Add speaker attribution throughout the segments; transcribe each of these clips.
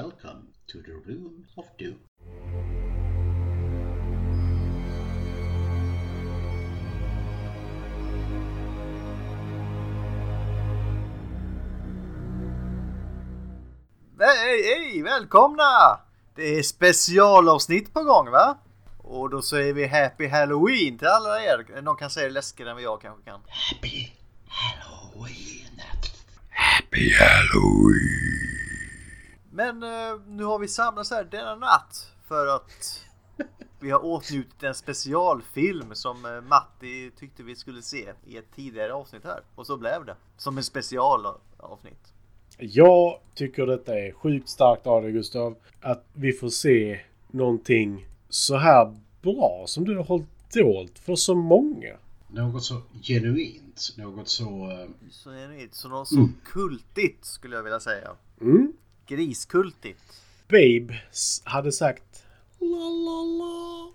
Speaker 1: Welcome to the Room of Doom.
Speaker 2: Hej, hej, välkomna! Det är specialavsnitt på gång va? Och då säger vi Happy Halloween till alla er. Någon kan säga det läskigare än vad jag kanske kan.
Speaker 1: Happy Halloween!
Speaker 2: Men eh, nu har vi samlats här denna natt för att vi har åtnjutit en specialfilm som eh, Matti tyckte vi skulle se i ett tidigare avsnitt här. Och så blev det. Som en specialavsnitt.
Speaker 3: Jag tycker detta är sjukt starkt av dig Gustav. Att vi får se någonting så här bra som du har hållit dolt för så många.
Speaker 1: Något så genuint, något så... eh,
Speaker 2: Så genuint, så, något så kultigt skulle jag vilja säga.
Speaker 3: Mm.
Speaker 2: Griskultigt.
Speaker 3: Babe s- hade sagt la la la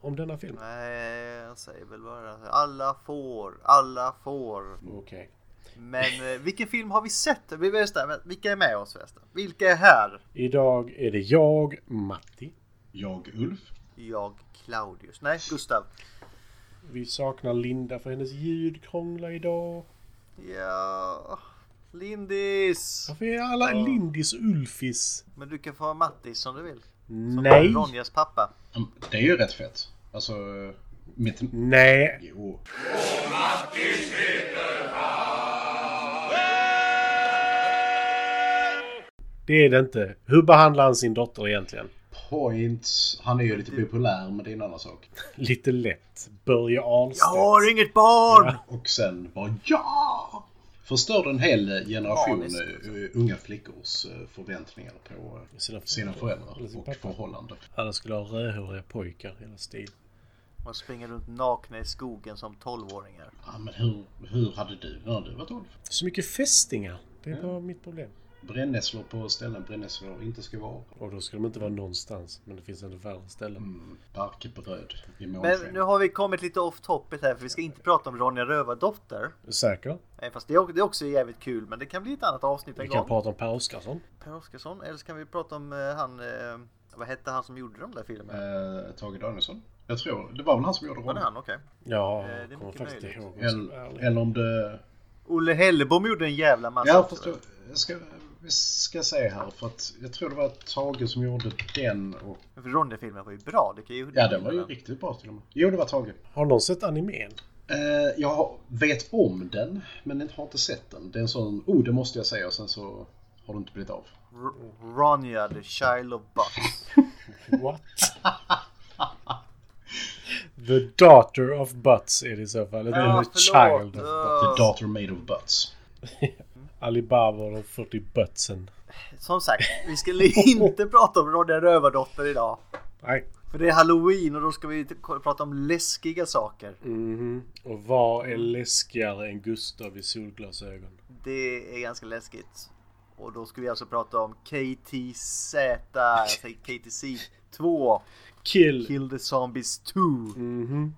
Speaker 3: om denna film.
Speaker 2: Nej, jag säger väl bara alla får, alla får.
Speaker 3: Okej.
Speaker 2: Men eh, vilken film har vi sett? Vi vet där, men vilka är med oss förresten? Vilka är här?
Speaker 3: Idag är det jag, Matti.
Speaker 1: Jag, Ulf.
Speaker 2: Jag, Claudius. Nej, Gustav.
Speaker 3: Vi saknar Linda för hennes ljud krånglar idag.
Speaker 2: Ja... Lindis!
Speaker 3: Varför är alla
Speaker 2: Ja.
Speaker 3: Lindis och Ulfis?
Speaker 2: Men du kan få ha Mattis om du vill. Som
Speaker 3: Nej!
Speaker 2: Ronjas pappa.
Speaker 1: Mm, Det är ju rätt fett. Alltså... eh, Mitt...
Speaker 3: Nej!
Speaker 1: Jo.
Speaker 3: Det är det inte. Hur behandlar han sin dotter egentligen?
Speaker 1: Points. Han är ju lite populär, men det är en annan sak.
Speaker 3: Lite lätt. Börje Ahlstedt.
Speaker 2: Jag har inget barn!
Speaker 1: Och sen bara ja! Förstörde en hel generation
Speaker 2: Ja, visst.
Speaker 1: eh, unga flickors eh, förväntningar på eh,
Speaker 3: Sina föräldrar.
Speaker 1: sina
Speaker 3: Eller
Speaker 1: föräldrar
Speaker 3: sin
Speaker 1: och
Speaker 3: pappa.
Speaker 1: förhållande.
Speaker 3: Alla skulle ha rödhåriga pojkar hela stil.
Speaker 2: Och springer runt nakna i skogen som tolvåringar.
Speaker 1: Ja, men hur, hur hade du när du var 12?
Speaker 3: Så mycket fästingar. Det är bara mitt problem.
Speaker 1: Brännässlor på ställen brännässlor inte ska vara.
Speaker 3: Och då ska de inte vara någonstans. Men det finns ändå värre ställen.
Speaker 1: Mm, barkbröd i
Speaker 2: Men nu
Speaker 1: månsken.
Speaker 2: har vi kommit lite off topic här för vi ska inte prata om Ronja Rövardotter.
Speaker 3: Säker?
Speaker 2: Nej, fast det är det är också jävligt kul men det kan bli ett annat avsnitt en
Speaker 3: Vi kan
Speaker 2: gång.
Speaker 3: prata om Per Oscarsson.
Speaker 2: Per Oscarsson, eller så kan vi prata om eh, han, eh, vad hette han som gjorde de där filmerna?
Speaker 1: Eh, Tage Danielsson. Jag tror, det var väl han som gjorde
Speaker 2: Var det
Speaker 1: rollen.
Speaker 2: han? Okej.
Speaker 3: Ja,
Speaker 2: Eh, det är
Speaker 3: jag kommer
Speaker 2: mycket
Speaker 3: faktiskt
Speaker 2: möjligt.
Speaker 3: inte ihåg. om jag ska vara
Speaker 1: Eller,
Speaker 3: ärlig.
Speaker 1: eller om det...
Speaker 2: Olle Hellebom gjorde en jävla massa.
Speaker 1: Ja,
Speaker 2: också,
Speaker 1: fast
Speaker 2: va?
Speaker 1: jag ska, vi ska säga här för att jag tror det var Tage som gjorde den och...
Speaker 2: För Ronja-filmen var ju bra. Det kan ju,
Speaker 1: Ja, den var ju riktigt bra till och med. Jo, det var Tage.
Speaker 3: Har någon sett animen?
Speaker 1: Eh, jag vet om den, men jag har inte sett den. Det är en sån, oh det måste jag säga, och sen så har det inte blivit av.
Speaker 2: R- Ronja, the Shile of Bucks.
Speaker 3: What? The daughter of butts är det i så fall. Eller
Speaker 2: Ja,
Speaker 3: the
Speaker 2: förlåt.
Speaker 3: child of
Speaker 2: Ja.
Speaker 3: butts.
Speaker 1: The Daughter Made of Butts.
Speaker 3: Ali Baba och de 40 buttsen.
Speaker 2: Eh, Som sagt, vi skulle inte prata om Ronja Rövardotter idag.
Speaker 3: Nej.
Speaker 2: För det är halloween och då ska vi t- k- prata om läskiga saker.
Speaker 3: Mhm. Och vad är läskigare än Gustav i solglasögon?
Speaker 2: Det är ganska läskigt. Och då ska vi alltså prata om KTZ, jag säger KTC 2,
Speaker 3: Kill!
Speaker 2: Kill the Zombies 2.
Speaker 3: Mhm.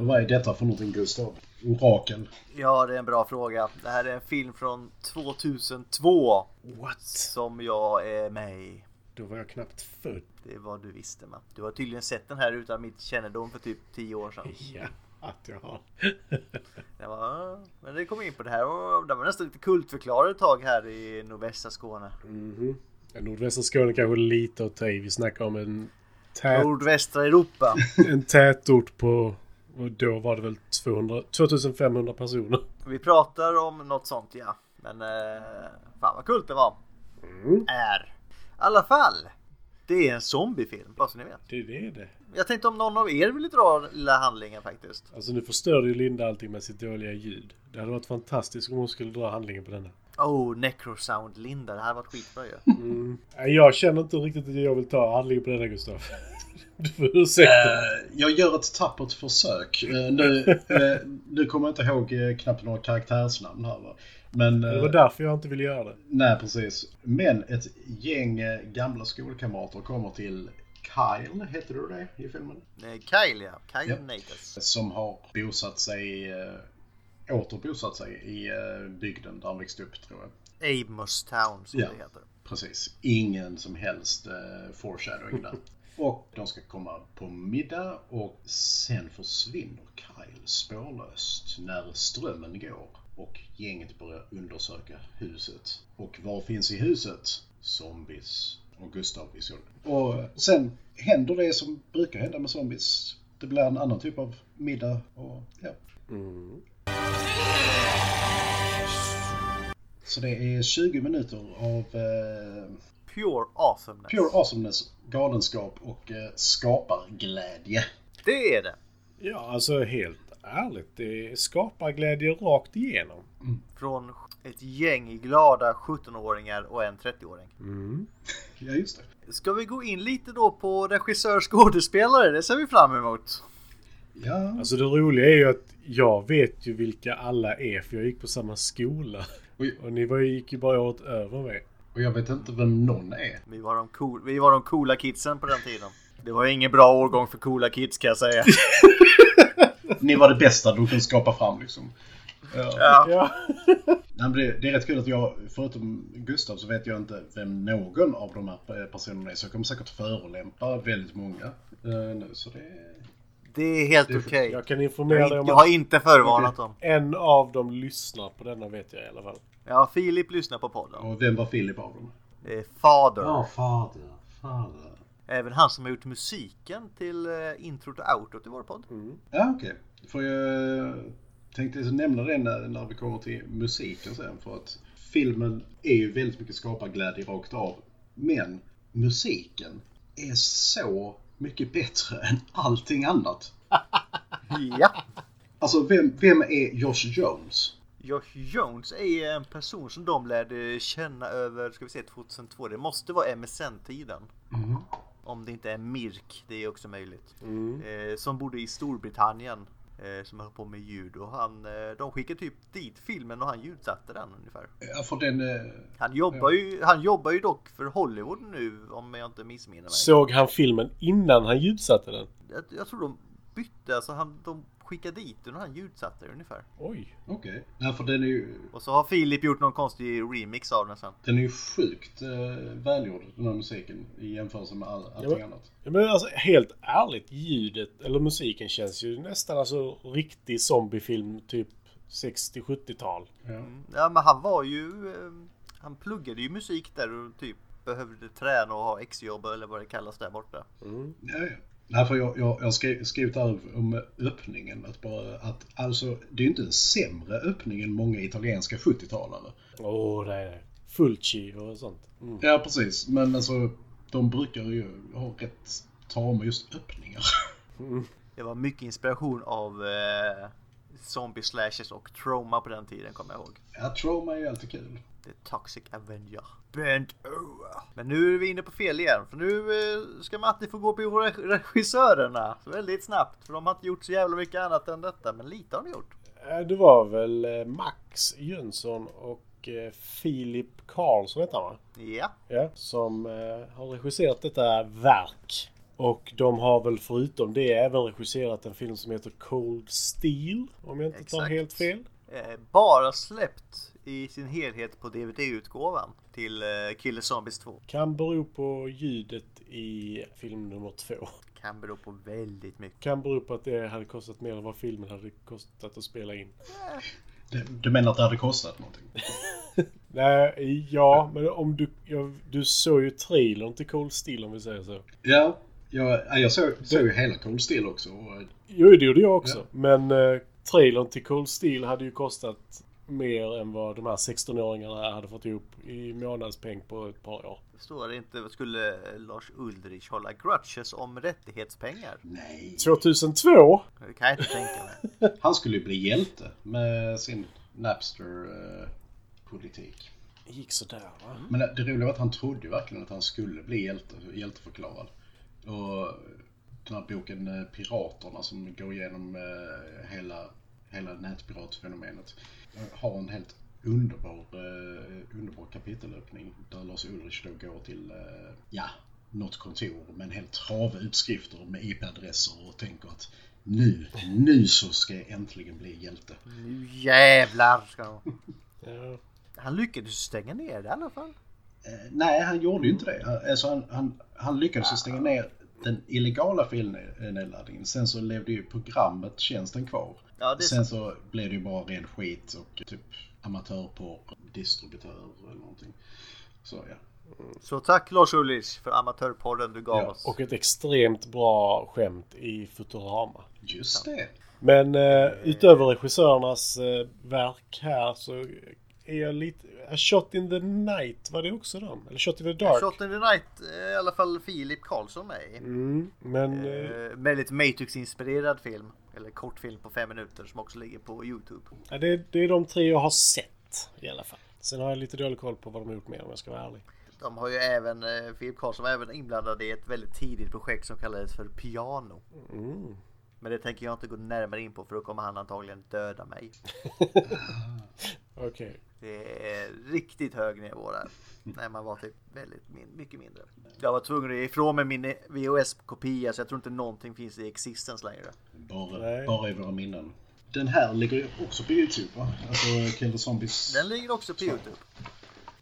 Speaker 1: Och vad är detta för någonting, Gustav? Orakel.
Speaker 2: Ja, det är en bra fråga. Det här är en film från 2002
Speaker 3: What?
Speaker 2: som jag är med i.
Speaker 3: Då var jag knappt född.
Speaker 2: Det var du visste man. Du har tydligen sett den här utan mitt kännedom för typ 10 år sedan.
Speaker 3: Ja, att jag har.
Speaker 2: Den var, men det kom in på det här och den var nästan lite kultförklarad ett tag här i nordvästra Skåne.
Speaker 3: Mhm. Ja, Nordvästra Skåne kanske lite att ta i. Vi snackar om en, tät,
Speaker 2: Nordvästra Europa.
Speaker 3: en tätort på... Och då var det väl 200, 2500 personer.
Speaker 2: Vi pratar om något sånt ja. Men eh, fan vad kul det var.
Speaker 3: Mm.
Speaker 2: Är. I alla fall. Det är en zombiefilm, bara så ni vet.
Speaker 3: Det är det det.
Speaker 2: Jag tänkte om någon av er ville dra den lilla handlingen faktiskt.
Speaker 3: Alltså nu förstörde ju Linda allting med sitt dåliga ljud. Det hade varit fantastiskt om hon skulle dra handlingen på denna.
Speaker 2: Oh, Necrosound Linda, det här var skitbra ju.
Speaker 3: Mm. Nej, Jag känner inte riktigt att jag vill ta handlingen på denna Gustav. Du får ursäkta.
Speaker 1: Eh, jag gör ett tappert försök. Eh, nu, eh, nu kommer jag inte ihåg eh, knappt några karaktärsnamn här va. Men... eh,
Speaker 3: Det var därför jag inte ville göra det.
Speaker 1: Nej, precis. Men ett gäng eh, gamla skolkamrater kommer till Kyle, heter du det i filmen?
Speaker 2: Eh, Kyle ja, Kyle
Speaker 1: Ja.
Speaker 2: Natus.
Speaker 1: Som har bosatt sig, eh, återbosatt sig i eh, bygden där han växte upp tror jag.
Speaker 2: Amos Town som
Speaker 1: Ja.
Speaker 2: det heter.
Speaker 1: Precis. Ingen som helst eh, foreshadowing där. Och de ska komma på middag och sen försvinner Kyle spårlöst när strömmen går och gänget börjar undersöka huset. Och vad finns i huset? Zombies och Gustav i solen. Och sen händer det som brukar hända med zombies. Det blir en annan typ av middag och ja. Så det är 20 minuter av eh,
Speaker 2: Pure awesomeness.
Speaker 1: pure awesomeness, galenskap och eh, skaparglädje.
Speaker 2: Det är det.
Speaker 3: Ja, alltså helt ärligt. Det skapar glädje rakt igenom.
Speaker 2: Från ett gäng glada 17-åringar och en 30-åring.
Speaker 3: Mm.
Speaker 1: Ja, just det.
Speaker 2: Ska vi gå in lite då på regissör skådespelare? Det ser vi fram emot.
Speaker 1: Ja,
Speaker 3: Alltså det roliga är ju att jag vet ju vilka alla är för jag gick på samma skola.
Speaker 1: och,
Speaker 3: Och ni var, gick ju bara året över mig.
Speaker 1: och jag vet inte vem någon är.
Speaker 2: Vi var, de cool, vi var de coola kidsen på den tiden. Det var ingen bra årgång för coola kids kan jag säga.
Speaker 1: Ni var det bästa du kunde skapa fram liksom. Ja.
Speaker 2: Ja.
Speaker 3: Ja.
Speaker 1: Nej, men det, det är rätt kul att jag, förutom Gustav, så vet jag inte vem någon av de här personerna är. Så jag kommer säkert förolämpa väldigt många eh, nu. Så det...
Speaker 2: Det är helt
Speaker 1: Det är-
Speaker 2: okej.
Speaker 3: Jag kan informera dig om
Speaker 2: Jag har
Speaker 3: att
Speaker 2: inte förvarnat dem.
Speaker 3: en av dem lyssnar på denna vet jag i alla fall.
Speaker 2: Ja, Filip lyssnar på podden.
Speaker 1: Och vem var Filip av dem?
Speaker 2: Det är Fader.
Speaker 1: fader. Fader.
Speaker 2: Även han som har gjort musiken till eh, introt och outrot i vår podd.
Speaker 1: Ja, okej. För jag eh, tänkte liksom nämna det när, när vi kommer till musiken sen. För att filmen är ju väldigt mycket skaparglädje rakt av. Men musiken är så mycket bättre än allting annat.
Speaker 2: Ja.
Speaker 1: Alltså, vem, vem är Josh Jones?
Speaker 2: Josh Jones är en person som de lärde känna över, ska vi se, 2002. Det måste vara MSN-tiden. Om det inte är Mirk, det är också möjligt. Eh, som bodde i Storbritannien. Eh, som höll på med ljud och han, eh, de skickade typ dit filmen och han ljudsatte den ungefär.
Speaker 1: Ja, för den... eh,
Speaker 2: Han jobbar, ju, han jobbar ju dock för Hollywood nu om jag inte missminner mig.
Speaker 3: Såg han filmen innan han ljudsatte den?
Speaker 2: Jag, jag tror de bytte, alltså han, de skickade dit den och han ljudsatte den ungefär.
Speaker 3: Oj.
Speaker 1: Okej. Nej, för den är ju...
Speaker 2: Och så har Filip gjort någon konstig remix av den sen.
Speaker 1: Den är ju sjukt eh, välgjord, den här musiken, i jämförelse med all, allting
Speaker 3: Ja, men-
Speaker 1: annat.
Speaker 3: Ja, Men alltså helt ärligt, ljudet eller musiken känns ju nästan alltså riktig zombiefilm typ 60-70-tal.
Speaker 1: Ja.
Speaker 2: Ja men han var ju, eh, han pluggade ju musik där och typ behövde träna och ha exjobb eller vad det kallas där borta.
Speaker 1: Ja, ja. Nej, för jag, jag, jag skrev, skrev där om öppningen. Att bara, att, alltså, det är ju inte en sämre öppning än många italienska 70-talare.
Speaker 3: Åh, oh, det är det. Fulci och sånt. Mm.
Speaker 1: Ja, precis. Men alltså, de brukar ju ha rätt tama just öppningar.
Speaker 2: Det var mycket inspiration av eh, zombie slashes och trauma på den tiden kommer jag ihåg.
Speaker 1: Ja, trauma är ju alltid kul.
Speaker 2: The Toxic Avenger. Bent over. Men nu är vi inne på fel igen. För nu eh, ska Matti få gå på reg- regissörerna. Så väldigt snabbt. För de har inte gjort så jävla mycket annat än detta. Men lite har de gjort.
Speaker 3: Eh, Det var väl eh, Max Jönsson och eh, Filip Karlsson hette han va?
Speaker 2: Ja.
Speaker 3: Ja. Som eh, har regisserat detta verk. Och de har väl förutom det även regisserat en film som heter Cold Steel. Om jag inte tar
Speaker 2: Exakt.
Speaker 3: helt fel.
Speaker 2: Eh, bara släppt i sin helhet på DVD-utgåvan. Till eh, Killer Zombies 2.
Speaker 3: Kan bero på ljudet i film nummer två.
Speaker 2: Kan bero på väldigt mycket.
Speaker 3: Kan bero på att det hade kostat mer än vad filmen hade kostat att spela in.
Speaker 1: Du, du menar att det hade kostat någonting?
Speaker 3: Nej, ja, men om du... Ja, du såg ju trailern till Cold Steel om vi säger så.
Speaker 1: Ja, jag, ja, jag såg, såg ju hela Cold Steel också. Och,
Speaker 3: Jo, det gjorde jag också. Men eh, trailern till Cold Steel hade ju kostat mer än vad de här 16-åringarna hade fått ihop i månadspeng på ett par år.
Speaker 2: Förstår det inte. Skulle eh, Lars Ulrich hålla grudges om rättighetspengar?
Speaker 1: nej.
Speaker 3: 2002?
Speaker 2: Det kan jag inte tänka mig.
Speaker 1: Han skulle ju bli hjälte med sin eh, Napster-politik.
Speaker 3: Gick sådär va?
Speaker 1: Men det roliga var att han trodde ju verkligen att han skulle bli hjälte, hjälteförklarad. Och den här boken eh, Piraterna som går igenom eh, hela, hela nätpiratfenomenet eh, har en helt underbar, eh, underbar kapitelöppning där Lars Ulrich då går till, eh, ja, något kontor med en hel trave utskrifter med IP-adresser och tänker att nu, nu så ska jag äntligen bli hjälte.
Speaker 2: Nu jävlar ska de.
Speaker 3: Ja.
Speaker 2: Han lyckades stänga ner det i alla fall.
Speaker 1: Eh, nej, han gjorde ju inte det. Han, alltså han, han, han lyckades ju stänga ner den illegala filnedladdningen. Sen så levde ju programmet, tjänsten kvar.
Speaker 2: Ja, det är
Speaker 1: Sen så blev det ju bara ren skit och typ amatörporr, distributör eller någonting. Så ja.
Speaker 2: Så tack Lars Ulrich för amatörpodden du gav
Speaker 1: Ja,
Speaker 2: oss.
Speaker 3: Och ett extremt bra skämt i Futurama.
Speaker 1: Just det.
Speaker 3: Men eh, utöver regissörernas eh, verk här så är jag lite... A Shot in the Night, var det också dem? Eller Shot in the Dark?
Speaker 2: Shot in the Night, eh, i alla fall Filip Karlsson med i.
Speaker 3: Mm, men... Eh,
Speaker 2: Eh, väldigt Matrix-inspirerad film. Eller kortfilm på fem minuter som också ligger på Youtube.
Speaker 3: ja, det, det är de tre jag har sett i alla fall. Sen har jag lite dålig koll på vad de har gjort mer om jag ska vara ärlig.
Speaker 2: De har ju även, eh, Filip Karlsson var även inblandad i ett väldigt tidigt projekt som kallades för Piano.
Speaker 3: Mm.
Speaker 2: Men det tänker jag inte gå närmare in på för då kommer han antagligen döda mig.
Speaker 3: Okej.
Speaker 2: Det är riktigt hög nivå där. När man var typ väldigt min- mycket mindre. Jag var tvungen att ge ifrån mig min VHS-kopia så jag tror inte någonting finns i existens längre.
Speaker 1: Bara,
Speaker 3: Nej.
Speaker 1: bara i våra minnen. Den här ligger ju också på YouTube va? Alltså Kill the Zombies.
Speaker 2: Den ligger också på Youtube.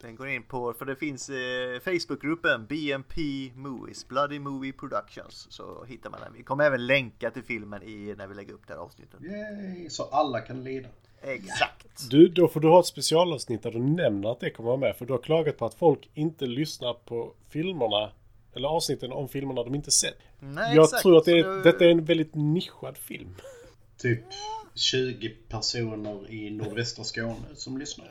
Speaker 2: Den går in på, för det finns eh, Facebookgruppen BMP Movies, Bloody Movie Productions. Så hittar man den. Vi kommer även länka till filmen i, när vi lägger upp det här avsnittet.
Speaker 1: Yay, så alla kan lida.
Speaker 2: Exakt!
Speaker 3: Du, då får du ha ett specialavsnitt där du nämner att det kommer vara med. För du har klagat på att folk inte lyssnar på filmerna, eller avsnitten om filmerna de inte sett.
Speaker 2: Nej,
Speaker 3: jag
Speaker 2: exakt.
Speaker 3: tror att det
Speaker 2: Så
Speaker 3: är,
Speaker 2: nu-
Speaker 3: detta är en väldigt nischad film.
Speaker 1: Typ 20 personer i nordvästra Skåne som lyssnar.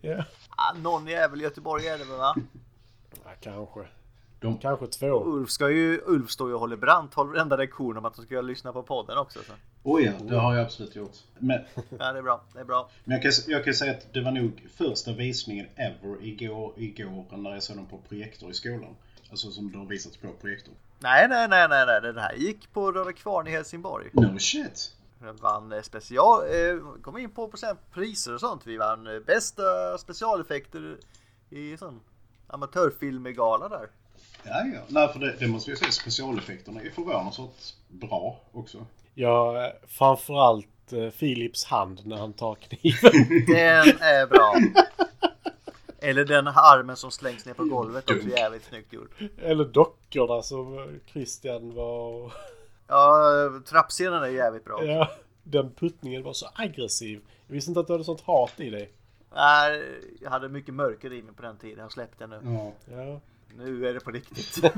Speaker 3: ja.
Speaker 2: Ah, någon jävel Göteborg är det väl va?
Speaker 3: ja, kanske.
Speaker 1: De,
Speaker 3: Kanske två.
Speaker 2: Ulf, ska ju, Ulf står ju och håller brant, håller varenda lektion om att de ska lyssna på podden också. Så.
Speaker 1: oh ja, det har jag absolut gjort. Men,
Speaker 2: Ja, det är bra. Det är bra.
Speaker 1: men jag, kan, jag kan säga att det var nog första visningen ever igår, igår när jag såg den på projektor i skolan. Alltså som det har visats på projektor.
Speaker 2: Nej, nej, nej, nej, nej. Den här gick på Röda Kvarn i Helsingborg.
Speaker 1: No shit!
Speaker 2: Den vann eh, special, eh, kom in på procent priser och sånt. Vi vann eh, bästa specialeffekter i sån amatörfilmgala där.
Speaker 1: Ja, ja. Nej, för det, det måste jag säga. Specialeffekterna är förvånansvärt bra också.
Speaker 3: Ja, framförallt eh, Philips hand när han tar kniven.
Speaker 2: Den är bra. Eller den armen som slängs ner på golvet också jävligt snyggt gjord.
Speaker 3: eller dockorna som eh, Christian var...
Speaker 2: Ja, trappscenen är jävligt bra.
Speaker 3: Ja, den puttningen var så aggressiv. Jag visste inte att du hade sånt hat i dig.
Speaker 2: Nej, jag hade mycket mörker i mig på den tiden. Jag har släppt det nu.
Speaker 1: Ja.
Speaker 3: Ja.
Speaker 2: Nu är det på riktigt.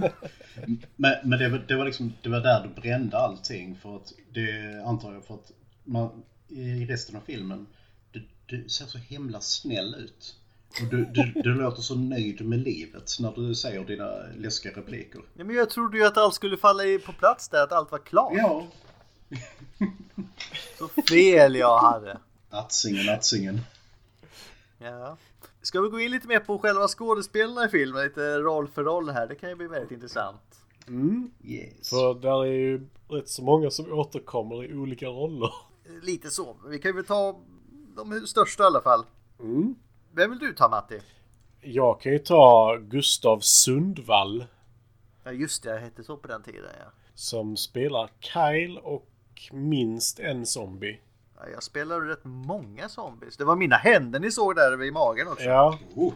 Speaker 1: Men, men det, var, det, var liksom, det var där du brände allting för att det antar jag för att man i resten av filmen du, du ser så himla snäll ut. Och du, du, du låter så nöjd med livet när du säger dina läskiga repliker.
Speaker 2: Nej, men jag trodde ju att allt skulle falla i- på plats där, att allt var klart.
Speaker 1: Ja,
Speaker 2: Så fel jag hade.
Speaker 1: nattsingen, nattsingen.
Speaker 2: Ja. Ska vi gå in lite mer på själva skådespelarna i filmen? Lite roll för roll här. Det kan ju bli väldigt intressant.
Speaker 3: Mm.
Speaker 1: Yes.
Speaker 3: För där är ju rätt så många som återkommer i olika roller.
Speaker 2: Lite så. Vi kan ju ta de största i alla fall.
Speaker 3: Mm.
Speaker 2: Vem vill du ta Matti?
Speaker 3: Jag kan ju ta Gustav Sundvall
Speaker 2: Ja just det, jag hette så på den tiden ja.
Speaker 3: som spelar Kyle och minst en zombie.
Speaker 2: ja jag spelade rätt många zombies. Det var mina händer ni såg där vid magen också.
Speaker 3: Ja,
Speaker 1: Oh,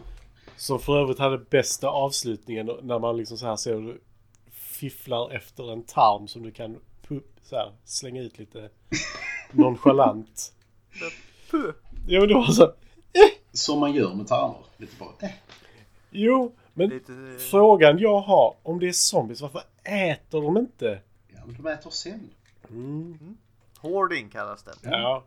Speaker 3: som för övrigt hade bästa avslutningen när man liksom så här ser hur du fifflar efter en tarm som du kan pu- så här, slänga ut lite nonchalant.
Speaker 2: Puh.
Speaker 3: Ja men det var så här, eh,
Speaker 1: som man gör med tarmar. Lite bara, eh.
Speaker 3: Jo, men
Speaker 2: Lite-
Speaker 3: frågan jag har om det är zombies, varför äter de inte?
Speaker 1: Ja, men de äter sen.
Speaker 2: Hoarding kallas det.
Speaker 3: Ja.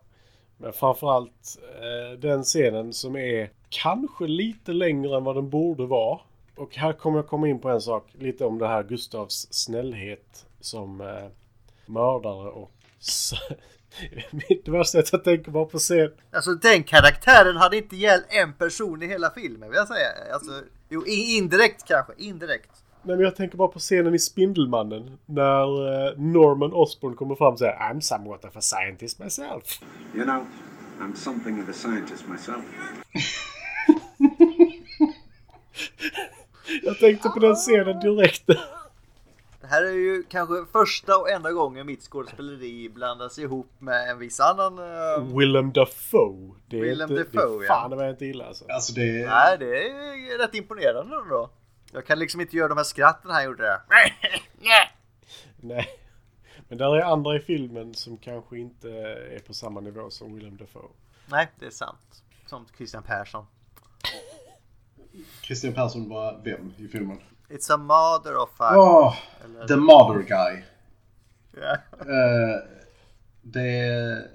Speaker 3: Men framförallt eh, den scenen som är kanske lite längre än vad den borde vara. Och här kommer jag komma in på en sak, lite om det här Gustavs snällhet som eh, mördare och... s- det värsta är att jag tänker bara på scen...
Speaker 2: Alltså den karaktären hade inte gällt en person i hela filmen vill jag säga. Alltså, jo, i- indirekt kanske, indirekt.
Speaker 3: Nej men jag tänker bara på scenen i Spindelmannen. När eh, Norman Osborn kommer fram och säger I'm somewhat of a scientist myself.
Speaker 4: You know, I'm something of a scientist myself.
Speaker 3: Jag tänkte på den scenen direkt.
Speaker 2: Det här är ju kanske första och enda gången mitt skådespeleri blandas ihop med en viss annan... eh,
Speaker 3: Willem Dafoe. Det är
Speaker 2: Willem
Speaker 3: inte,
Speaker 2: Dafoe,
Speaker 3: det är
Speaker 2: ja.
Speaker 3: fan det var inte illa alltså.
Speaker 1: Alltså det är...
Speaker 2: Nej, det är rätt imponerande ändå. Jag kan liksom inte göra de här skratten han gjorde.
Speaker 3: Nej. Men där är andra i filmen som kanske inte är på samma nivå som Willem Dafoe.
Speaker 2: Nej, det är sant. Som Christian Persson.
Speaker 1: Christian Persson var vem i filmen?
Speaker 2: It's a mother of fuck.
Speaker 1: Åh,
Speaker 2: Eller-
Speaker 1: The Mother Guy.
Speaker 2: Ja.
Speaker 1: Eh, det...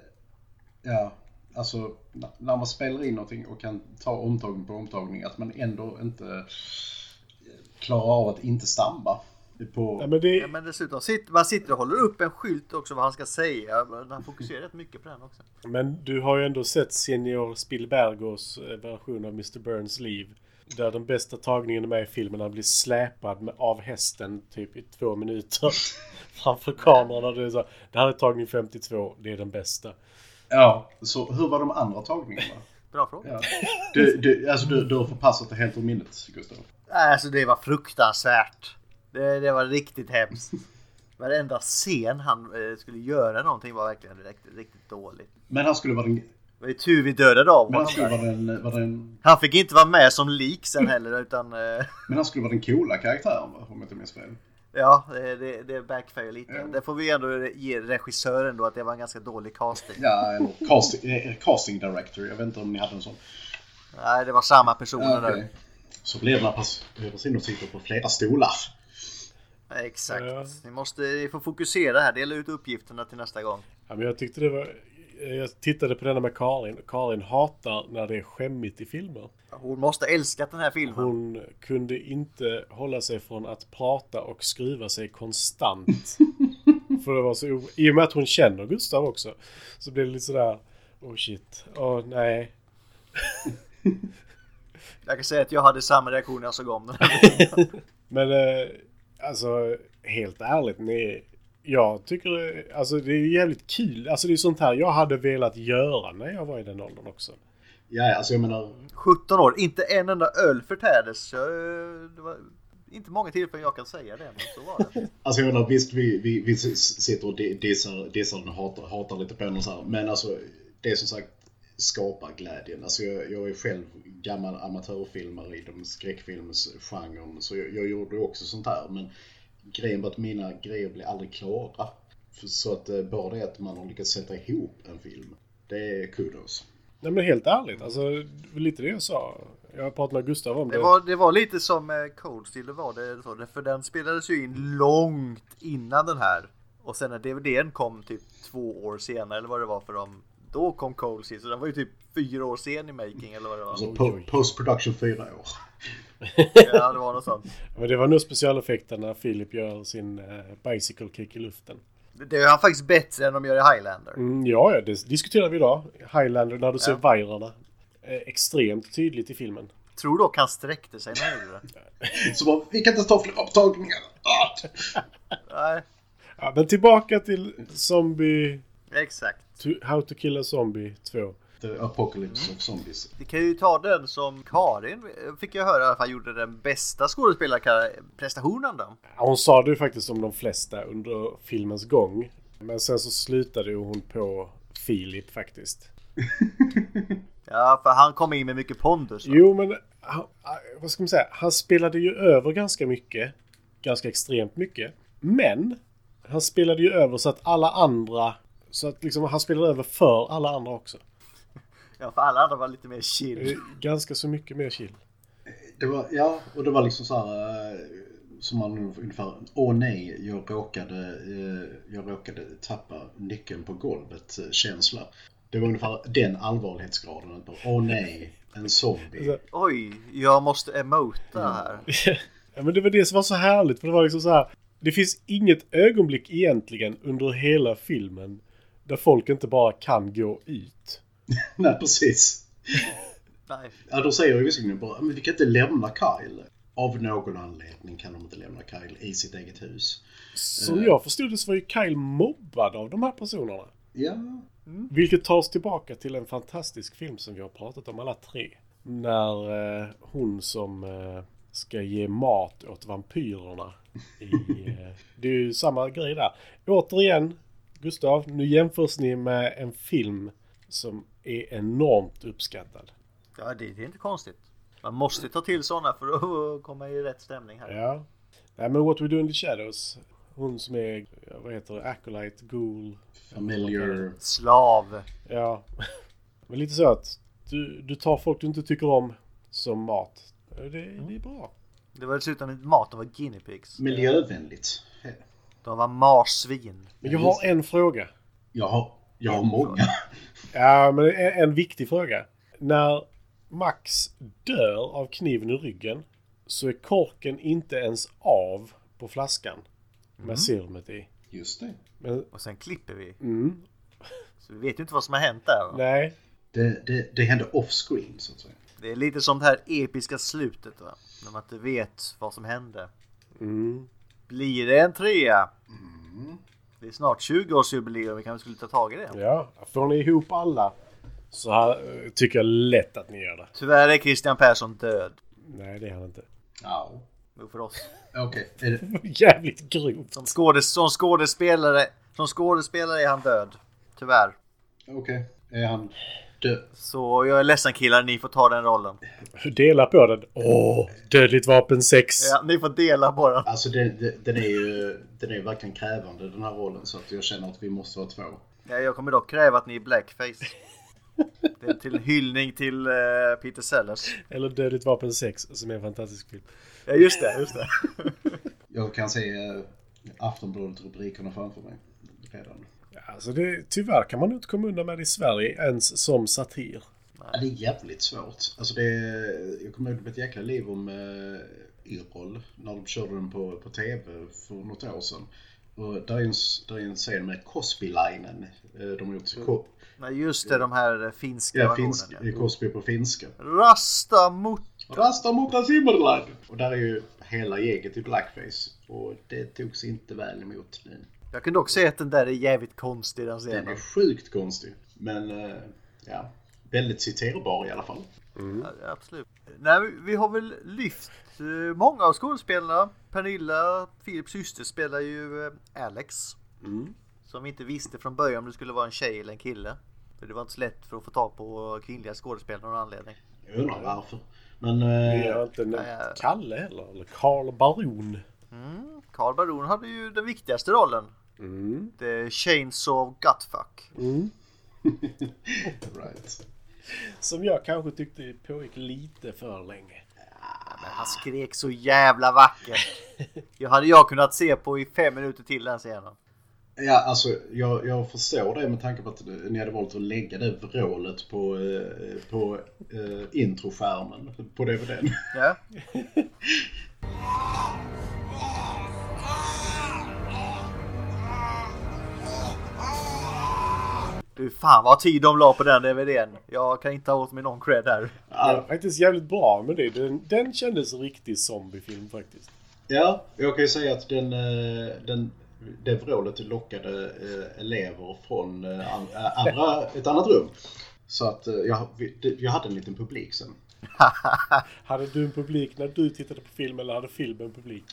Speaker 1: Ja, alltså na- när man spelar in någonting och kan ta omtagning på omtagning, att man ändå inte klarar av att inte stamma. På,
Speaker 3: Nej, men det,
Speaker 2: Ja, men dessutom, sitter- man sitter och håller upp en skylt också vad han ska säga. Men Han fokuserar rätt mycket på den också.
Speaker 3: Men du har ju ändå sett Senior Spielbergos eh, version av Mr. Burns liv. Där den bästa tagningen är med i filmen när han blir släpad med, av hästen typ i två minuter. Framför kameran och det är så här, Det här är tagning 52, det är den bästa.
Speaker 1: Ja, så hur var de andra tagningarna?
Speaker 2: Bra fråga.
Speaker 1: Ja. Du, du, alltså du, du har förpassat det helt ur minnet, Gustav.
Speaker 2: Nej, Alltså det var fruktansvärt. Det, det var riktigt hemskt. Varenda scen han eh, skulle göra någonting var verkligen riktigt, riktigt dåligt.
Speaker 1: Men han skulle vara den,
Speaker 2: Det var ju tur vi dödade av
Speaker 1: men han
Speaker 2: honom.
Speaker 1: skulle
Speaker 2: där.
Speaker 1: vara den, vara den,
Speaker 2: Han fick inte vara med som lik sen heller utan... eh,
Speaker 1: men han skulle vara den coola karaktären, va? om jag inte minns fel.
Speaker 2: Ja, det, det, det backfire lite.
Speaker 1: Ja.
Speaker 2: Det får vi ändå ge regissören då att det var en ganska dålig casting.
Speaker 1: Ja, eller casting, eh, casting director. Jag vet inte om ni hade en sån.
Speaker 2: Nej, det var samma personer
Speaker 1: Ja, okej.
Speaker 2: där.
Speaker 1: Så blir det när pers- personer sitter på flera stolar.
Speaker 2: Exakt.
Speaker 3: Ja.
Speaker 2: Ni måste ni får fokusera här. Dela ut uppgifterna till nästa gång.
Speaker 3: Ja, men jag tyckte det var... Jag tittade på denna med Karin och Karin hatar när det är skämmigt i filmer.
Speaker 2: Hon måste älska den här filmen.
Speaker 3: Hon kunde inte hålla sig från att prata och skruva sig konstant. För det var så o- I och med att hon känner Gustav också. Så blev det lite sådär... Oh shit. Åh nej.
Speaker 2: Jag kan säga att jag hade samma reaktion när jag såg om den.
Speaker 3: Men eh, alltså helt ärligt. Ni, jag tycker det- alltså, det är jävligt kul. Alltså det är sånt här jag hade velat göra när jag var i den åldern också.
Speaker 1: Ja, ja, alltså jag menar,
Speaker 2: 17 år, inte en enda öl förtärdes. Jag, eh, det var inte många tillfällen jag kan säga det, men så var det.
Speaker 1: alltså jag menar visst vi, vi, vi s- sitter och di- dissar, dissar den och hatar, hatar lite på den och så här. Men alltså det är som sagt skapar glädjen. Alltså jag, jag är själv gammal amatörfilmare i de skräckfilmsgenren. Så jag, jag gjorde också sånt här. Men grejen var att mina grejer blev aldrig klara. För- Så att eh, bara det att man har lyckats sätta ihop en film. Det är kudos.
Speaker 3: Nej men helt ärligt. Alltså det var lite det jag sa. Jag pratade med Gustav om det.
Speaker 2: Det var, det var lite som eh, Cold Steel, det var det. Så, det- för den spelades ju in långt innan den här. Och sen när DVDn kom typ två år senare, eller vad det var för dem. Då kom Cold Steel, så den var ju typ fyra år sen i making, eller vad det var.
Speaker 1: Alltså po- post production fyra år.
Speaker 2: Ja, det var något sånt.
Speaker 3: Men det var nog specialeffekten när Filip gör sin eh, bicycle kick i luften.
Speaker 2: Det- Det är han faktiskt bättre än de gör i Highlander.
Speaker 3: Mm, ja, ja, det diskuterar vi idag. Highlander, när du ser vajrarna. Eh, extremt tydligt i filmen.
Speaker 2: Tror dock han sträckte sig när han gjorde det.
Speaker 1: Så bara, vi kan inte ta fler upptagningar. Ah!
Speaker 2: Nej,
Speaker 3: Ja, men tillbaka till Zombie...
Speaker 2: exakt.
Speaker 3: To, how to kill a zombie 2.
Speaker 1: The Apocalypse of Zombies.
Speaker 2: Vi kan ju ta den som Karin, eh, fick jag höra, i alla fall gjorde den bästa skådespelarprestationen då.
Speaker 3: Ja, Hon sa det ju faktiskt om de flesta under filmens gång. Men sen så slutade ju hon på Filip faktiskt.
Speaker 2: Ja, för han kom in med mycket pondus. va?
Speaker 3: Jo, men han, vad ska man säga? Han spelade ju över ganska mycket. Ganska extremt mycket. Men han spelade ju över så att alla andra... Så att liksom han spelade över för alla andra också.
Speaker 2: Ja, för alla andra var lite mer
Speaker 3: Eh,
Speaker 2: chill.
Speaker 3: Ganska så mycket mer chill.
Speaker 1: Det var, ja, och det var liksom så här eh, som man ungefär, åh nej, jag råkade, eh, jag råkade tappa nyckeln på golvet eh, känsla. Det var ungefär den allvarlighetsgraden. att bara, Åh nej, en zombie.
Speaker 2: Oj, jag måste emota här.
Speaker 3: ja, men det var det som var så härligt. För det var liksom så här. Det finns inget ögonblick egentligen under hela filmen där folk inte bara kan gå ut.
Speaker 1: Nej, precis.
Speaker 2: Nej.
Speaker 1: Ja, då säger jag visserligen bara, men vi kan inte lämna Kyle. Av någon anledning kan de inte lämna Kyle i sitt eget hus.
Speaker 3: Som jag förstod det så var ju Kyle mobbad av de här personerna.
Speaker 1: Ja,
Speaker 3: Vilket tar oss tillbaka till en fantastisk film som vi har pratat om alla tre. När eh, hon som eh, ska ge mat åt vampyrerna. I, eh, det är ju samma grej där. Återigen, Gustav, nu jämförs ni med en film som är enormt uppskattad.
Speaker 2: Ja, det, det är inte konstigt. Man måste ta till sådana för att komma i rätt stämning här.
Speaker 3: Ja. Nej, men What We Do In The Shadows. Hon som är, ja, vad heter det, Acolyte, Ghoul.
Speaker 1: Familiar.
Speaker 2: Slav.
Speaker 3: Ja. Men lite så att du, du tar folk du inte tycker om som mat. Det, det är bra.
Speaker 2: Det var dessutom inte mat, de var guinea pigs.
Speaker 1: Miljövänligt.
Speaker 2: De var marsvin.
Speaker 3: Men jag har en fråga.
Speaker 1: Jag har, jag har många.
Speaker 3: Ja, men en, en viktig fråga. När Max dör av kniven i ryggen så är korken inte ens av på flaskan med serumet i.
Speaker 1: Just det.
Speaker 3: Men,
Speaker 2: Och sen klipper vi.
Speaker 3: mm,
Speaker 2: Så vi vet ju inte vad som har hänt där. va?
Speaker 3: nej.
Speaker 1: Det, det, det händer off-screen så att säga.
Speaker 2: Det är lite som det här episka slutet va? När man inte vet vad som hände.
Speaker 3: Mm.
Speaker 2: Blir det en trea? Det är snart 20-årsjubileum, vi kanske skulle ta tag i det.
Speaker 3: Ja, får ni ihop alla så här, eh, tycker jag lätt att ni gör det.
Speaker 2: Tyvärr är Christian Persson död.
Speaker 3: Nej, det är han inte.
Speaker 1: Ja.
Speaker 2: Nog För oss.
Speaker 1: Okej. är det-
Speaker 3: Jävligt grovt.
Speaker 2: Som, skådes, som, skådespelare, som skådespelare är han död. Tyvärr.
Speaker 1: Okej. Är han död?
Speaker 2: Så jag är ledsen killar, ni får ta den rollen.
Speaker 3: Dela på den. Åh, dödligt vapen 6.
Speaker 2: Ja, ni får dela på den.
Speaker 1: Alltså det, det, den är ju den är ju verkligen krävande den här rollen så att jag känner att vi måste vara två.
Speaker 2: Ja, jag kommer dock kräva att ni är blackface. Det är till hyllning till eh, Peter Sellers.
Speaker 3: Eller Dödligt vapen 6 som är en fantastisk film.
Speaker 2: Ja, just det. Just det.
Speaker 1: Jag kan se eh, Aftonbladet-rubrikerna framför mig redan.
Speaker 3: Ja, Alltså det, tyvärr kan man inte komma undan med det i Sverige ens som satir.
Speaker 1: Ja, det är jävligt svårt. Alltså det är, jag kommer ihåg det blev ett jäkla liv om eh, Yrrol när de körde den på, på TV för något år sedan. Och där är en, s- där är en scen med Cosby-linen. Eh, de har gjort ko-
Speaker 2: Nej, just det, de här eh, finska
Speaker 1: ja,
Speaker 2: versionerna.
Speaker 1: finsk, Cosby på finska.
Speaker 2: Rasta mot...
Speaker 1: Rasta mot Zimmerland! Och där är ju hela gänget i blackface. Och det togs inte väl emot. nu.
Speaker 2: Jag kan dock säga att den där är jävligt konstig den
Speaker 1: Den är
Speaker 2: scenen.
Speaker 1: sjukt konstig. Men eh, ja, väldigt citerbar i alla fall.
Speaker 2: Ja, Absolut. Nej, vi- vi har väl lyft eh, många av skådespelarna. Pernilla, Philips syster, spelar ju eh, Alex. Som vi inte visste från början om det skulle vara en tjej eller en kille. För det var inte så lätt för att få tag på kvinnliga skådespelare av någon anledning.
Speaker 1: Jag undrar varför. Men eh,
Speaker 3: Jag har inte nämnt
Speaker 2: Nej.
Speaker 3: Kalle heller, eller Karl Baron.
Speaker 2: Karl Baron hade ju den viktigaste rollen.
Speaker 3: Mm.
Speaker 2: The Chainsaw Gutfuck.
Speaker 1: right.
Speaker 3: Som jag kanske tyckte pågick lite för länge.
Speaker 2: Men han skrek så jävla vackert. Jag hade jag kunnat se på i fem minuter till den scenen.
Speaker 1: Ja, alltså jag, jag förstår det med tanke på att ni hade valt att lägga det vrålet på, eh, på eh, introskärmen på DVDn.
Speaker 2: Ja. Du fan vad tid de la på den DVDn. Jag kan inte ha åt mig någon cred där.
Speaker 3: Det var faktiskt jävligt bra med det. Den, den kändes riktigt zombiefilm faktiskt.
Speaker 1: Ja, jag kan ju säga att den, eh, den, det vrålet lockade eh, elever från eh, an- eh, andra, ett annat rum. Så att eh, jag, vi- det- jag hade en liten publik sen.
Speaker 3: Hade du en publik när du tittade på film eller hade filmen publik?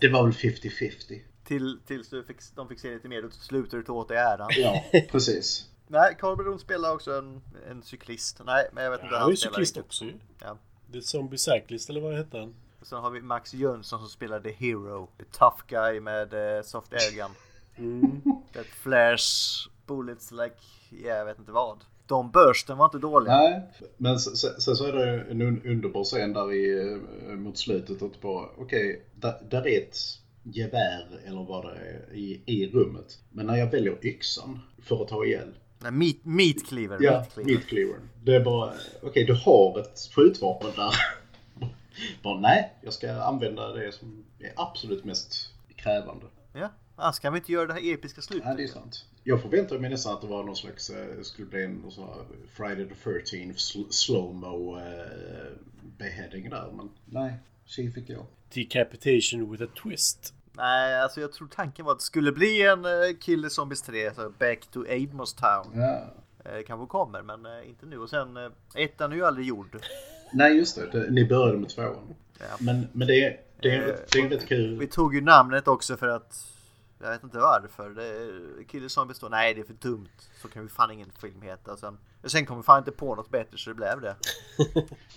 Speaker 1: Det var väl 50-50.
Speaker 2: Till, tills du fick, de fick se lite mer, då slutar du ta åt dig äran.
Speaker 1: Ja, precis.
Speaker 2: Nej, Karl Bron spelar också en, en cyklist. Nej, men jag vet inte.
Speaker 3: Han är ju
Speaker 2: spelar
Speaker 3: cyklist
Speaker 2: inte.
Speaker 3: också ju.
Speaker 2: Ja.
Speaker 3: The Zombie Cyclist eller vad hette han?
Speaker 2: Och sen har vi Max Jönsson som spelar The Hero. The tough guy med eh, soft airgun.
Speaker 1: Mm.
Speaker 2: That flares bullets like, ja jag vet inte vad. De bursten var inte dåliga.
Speaker 1: Nej, men sen, sen, sen så är det en un, underbar scen där i, eh, mot slutet att bara, okej, där, där är ett gevär eller vad det är i, i rummet. Men när jag väljer yxan för att ta ihjäl,
Speaker 2: Nej, meat, meat cleaver.
Speaker 1: Ja,
Speaker 2: meat cleaver.
Speaker 1: meat cleavern. Det är bara, okej du har ett skjutvapen där. bara, nej, jag ska använda det som är absolut mest krävande.
Speaker 2: Ja, annars kan vi inte göra det här episka
Speaker 1: Nej,
Speaker 2: slutet.
Speaker 1: det är sant. Jag förväntade mig nästan att det var någon slags, eh, skulle bli en någon sån här Friday the 13th sl- slowmo eh, beheading där, men nej. Tji fick jag.
Speaker 3: Decapitation with a twist.
Speaker 2: Nej, alltså jag tror tanken var att det skulle bli en eh, Killer Zombies 3, alltså Back to Amos Town.
Speaker 1: Ja.
Speaker 2: Eh, Eh, kanske kommer, men eh, inte nu. Och sen, eh, ettan är ju aldrig gjord.
Speaker 1: Nej, just det. det ni började med tvåan.
Speaker 2: Ja.
Speaker 1: Men, men det är det är, det är rätt
Speaker 2: Vi
Speaker 1: kul.
Speaker 2: tog ju namnet också för att jag vet inte varför. Det är, Killer Zombie står nej det är för dumt. Så kan vi fan ingen film heta. Sen, sen kom vi fan inte på något bättre så det blev det.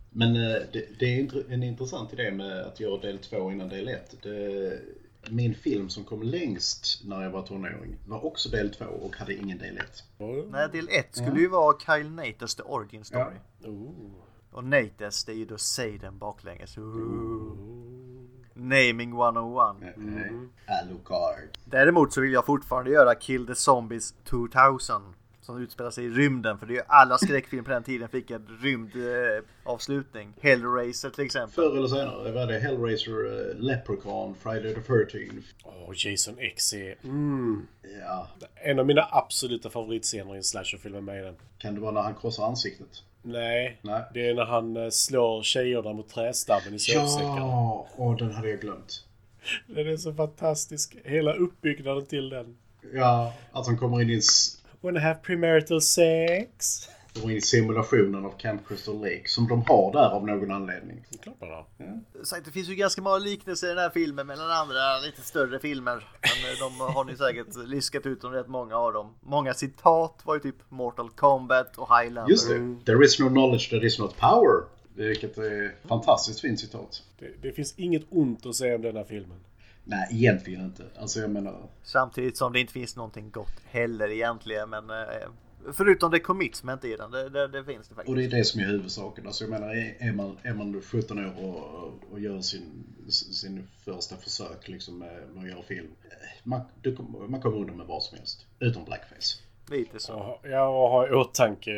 Speaker 1: Men eh, det, det är int- en intressant idé med att göra del två innan del ett. Det, min film som kom längst när jag var tonåring var också del två och hade ingen del ett.
Speaker 2: Nej, del 1 skulle ju vara Kyle Natas The Origin Story.
Speaker 3: Oh.
Speaker 2: Och Natas det är ju då Seiden baklänges. Ooh. Naming 101.
Speaker 1: Mm. Alucard.
Speaker 2: Däremot så vill jag fortfarande göra Kill the Zombies 2000. Som utspelar sig i rymden. För det är ju alla skräckfilmer på den tiden fick en rymdavslutning. Eh, avslutning. Hellraiser till exempel.
Speaker 1: Förr eller senare var det Hellraiser, eh, Leprechaun, Friday the 13th.
Speaker 3: Åh, Jason X är mm,
Speaker 1: Ja,
Speaker 3: en av mina absoluta favoritscener i en slasherfilm med i den.
Speaker 1: kan det vara när han krossar ansiktet?
Speaker 3: Nej,
Speaker 1: Nej.
Speaker 3: det är när han eh, slår tjejerna mot trästammen i sovsäcken.
Speaker 1: Ja, och den hade jag glömt.
Speaker 3: Den är så fantastisk. Hela uppbyggnaden till den.
Speaker 1: Ja, att han kommer in i, en s-
Speaker 3: Wanna have premarital sex?
Speaker 1: kommer in i simulationen av Camp Crystal Lake som de har där av någon anledning.
Speaker 3: Det är klart man har.
Speaker 2: Sagt, det finns ju ganska många liknelser i den här filmen mellan andra lite större filmer. Men eh, de har ni säkert liskat ut om rätt många av dem. Många citat var ju typ Mortal Kombat och Highlander.
Speaker 1: Just det. There is no knowledge, there is not power. Vilket är ett fantastiskt fint citat.
Speaker 3: Det, det finns inget ont att säga om den här filmen.
Speaker 1: Nej, egentligen inte. Alltså jag menar...
Speaker 2: Samtidigt som det inte finns någonting gott heller egentligen. Men eh, förutom det commitment i den, det, det, det finns det
Speaker 1: Och
Speaker 2: faktiskt.
Speaker 1: det är det som är huvudsaken. Alltså jag menar, är- är man, är man 17 år och, och gör sin, sin första försök liksom med, med att göra film. eh, Man, du, kommer- man kommer undan med vad som helst. Utom blackface.
Speaker 2: Lite så.
Speaker 3: Ja, Jag har i åtanke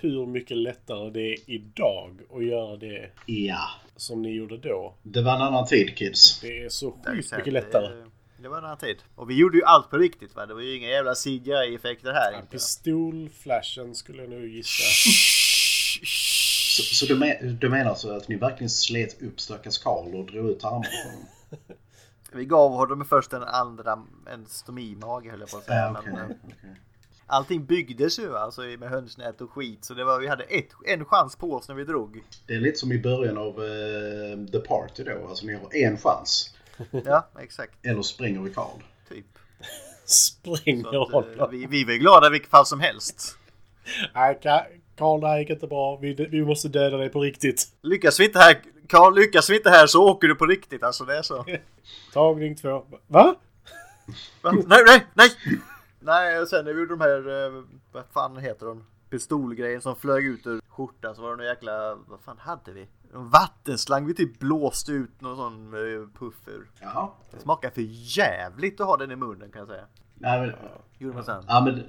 Speaker 3: hur mycket lättare det är idag att göra det
Speaker 1: Ja.
Speaker 3: som ni gjorde då.
Speaker 1: Det var en annan tid, kids.
Speaker 3: Det är så
Speaker 2: Där,
Speaker 3: sjukt
Speaker 2: så
Speaker 3: mycket
Speaker 2: det-
Speaker 3: lättare.
Speaker 2: Det var en annan tid. Och vi gjorde ju allt på riktigt va? Det var ju inga jävla CGI-effekter här.
Speaker 3: Ja,
Speaker 2: inte.
Speaker 3: Pistolflashen skulle jag nog gissa.
Speaker 1: Så, så du, men, du menar så att ni verkligen slet upp stackars Karl och drog ut armarna på honom?
Speaker 2: Vi gav honom först en andra, en stomimage höll jag på att säga.
Speaker 1: Ja, okej.
Speaker 2: Men, eh,
Speaker 1: okej.
Speaker 2: allting byggdes ju alltså i- med hönsnät och skit. Så det var, vi hade ett, en chans på oss när vi drog.
Speaker 1: Det är lite som i början av eh, The Party då. Alltså ni har en chans.
Speaker 2: Ja, exakt.
Speaker 1: Eller spränger vi Karl.
Speaker 2: Typ. Så
Speaker 3: Spränger
Speaker 2: att, eh,
Speaker 3: honom.
Speaker 2: vi, vi var ju glada i vilket fall som helst.
Speaker 3: Nej, Ka- Karl, det här gick inte bra. Vi, vi måste döda dig på riktigt.
Speaker 2: Lyckas vi inte här, Carl, lyckas vi inte här så åker du på riktigt. Alltså det är så.
Speaker 3: Tagning två. Va?
Speaker 2: Va? Nej, nej, nej! Nej, och sen när vi gjorde de här, eh, vad fan heter de? Pistolgrejen som flög ut ur skjortan så var det någon jäkla, vad fan hade vi? En vattenslang vi typ blåste ut någon sån eh, puff ur.
Speaker 1: Ja.
Speaker 2: Det smakar för jävligt att ha den i munnen kan jag säga.
Speaker 1: Nej, men,
Speaker 2: Gjorde man sen.
Speaker 1: ja, men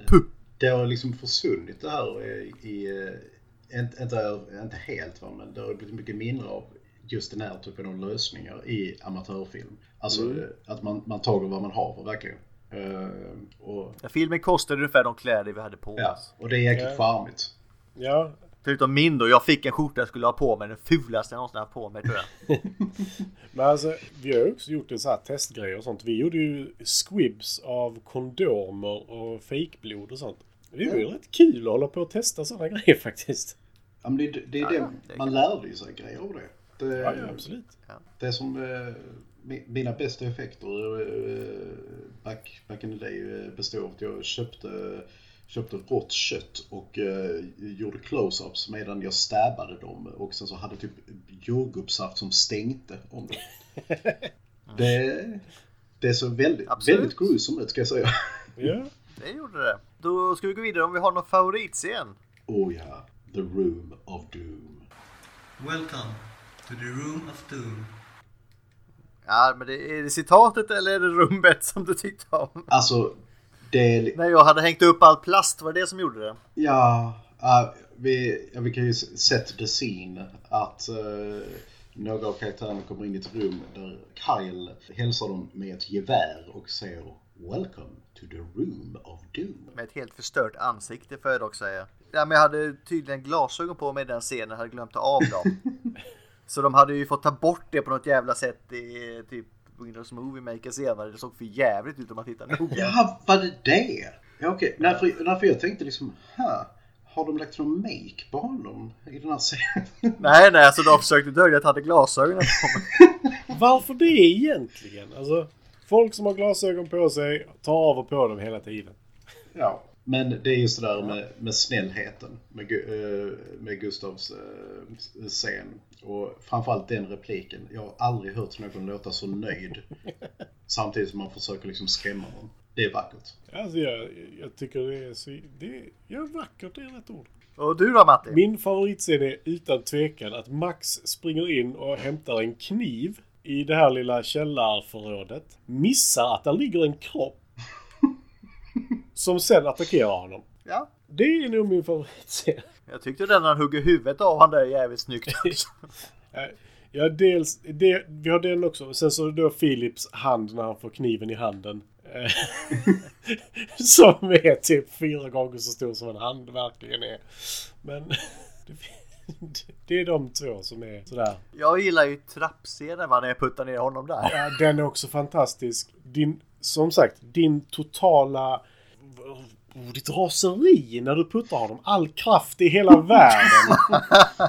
Speaker 1: det har liksom försvunnit det här i... i eh, inte, inte, inte helt va, men det har blivit mycket mindre av just den här typen av lösningar i amatörfilm. Alltså
Speaker 3: Mm.
Speaker 1: eh, att man, man tager vad man har för verkligen. Eh, och,
Speaker 2: Ja, filmen kostade ungefär de kläder vi hade på oss.
Speaker 1: ja, och det är jäkligt
Speaker 3: Ja.
Speaker 1: charmigt.
Speaker 3: Ja,
Speaker 2: Förutom min då, jag fick en skjorta jag skulle ha på mig, den fulaste jag någonsin haft på mig tror jag.
Speaker 3: Men alltså, vi har ju också gjort en sån här testgrejer och sånt. Vi gjorde ju squibs av kondomer och fejkblod och sånt. Det var ju rätt kul att hålla på och testa sådana grejer faktiskt.
Speaker 1: Ja, men det, det är
Speaker 2: Ja,
Speaker 1: det,
Speaker 2: ja, det
Speaker 1: man
Speaker 2: kan-
Speaker 1: lärde ju sig grejer av det. Det,
Speaker 3: Ja, ja, absolut.
Speaker 1: det är som eh, mi- mina bästa effekter eh, back, back in the day eh, består av att jag köpte, köpte rått kött och eh, gjorde close-ups medan jag stabbade dem och sen så hade typ jordgubbssaft som stänkte om det. det, det såg väldigt,
Speaker 2: Absolut.
Speaker 1: väldigt gruesome ut ska jag säga.
Speaker 3: Ja.
Speaker 2: Det gjorde det. Då ska vi gå vidare om vi har någon favoritscen.
Speaker 1: Oh ja, the room of doom.
Speaker 5: Welcome to the Room of Doom.
Speaker 2: Ja, men det, är det citatet eller är det rummet som du tyckte om?
Speaker 1: Alltså, det är...
Speaker 2: När jag hade hängt upp all plast var det det som gjorde det.
Speaker 1: Ja, ja, vi, ja, vi kan ju s- set the scene att eh, några av karaktärerna kommer in i ett rum där Kyle hälsar dem med ett gevär och säger Welcome to the room of doom.
Speaker 2: Med ett helt förstört ansikte får jag dock säga. Ja, men jag hade tydligen glasögon på mig i den scenen, hade glömt ta av dem. Så de hade ju fått ta bort det på något jävla sätt i eh, typ Windows Movie Maker senare. Det såg för jävligt ut om man tittar noga.
Speaker 1: Ja, vad är det? Ja, okej. Nej, för, nej, för jag tänkte liksom, huh, har de lagt någon make på honom i den här serien?
Speaker 2: Nej, nej, alltså de försökte dölja att han hade glasögonen på mig.
Speaker 3: Varför det egentligen? Alltså, folk som har glasögon på sig tar av och på dem hela tiden.
Speaker 1: ja. Men det är just det där med, med snällheten med, Gu- eh, med Gustavs eh, scen. Och framförallt den repliken. Jag har aldrig hört någon låta så nöjd. Samtidigt som man försöker liksom skrämma honom. Det är vackert.
Speaker 3: Alltså, jag, jag tycker det är så... Det är, ja, vackert det är rätt ord.
Speaker 2: Och du då Matti?
Speaker 3: Min favoritscen är utan tvekan att Max springer in och hämtar en kniv i det här lilla källarförrådet. Missar att där ligger en kropp. Som sen attackerar honom.
Speaker 2: Ja.
Speaker 3: Det är nog min favoritscen.
Speaker 2: Jag tyckte den han hugger huvudet av han där är jävligt snyggt.
Speaker 3: Eh, Ja, dels, det, vi har den också. Sen så då Philips hand när han får kniven i handen. Eh, som är typ fyra gånger så stor som en hand verkligen är. Men det, det är de två som är sådär.
Speaker 2: Jag gillar ju trappscenen va, när jag puttar ner honom där.
Speaker 3: Ja, den är också fantastisk. Din, som sagt, din totala... Oh, ditt raseri när du puttar honom. All kraft i hela världen. Han-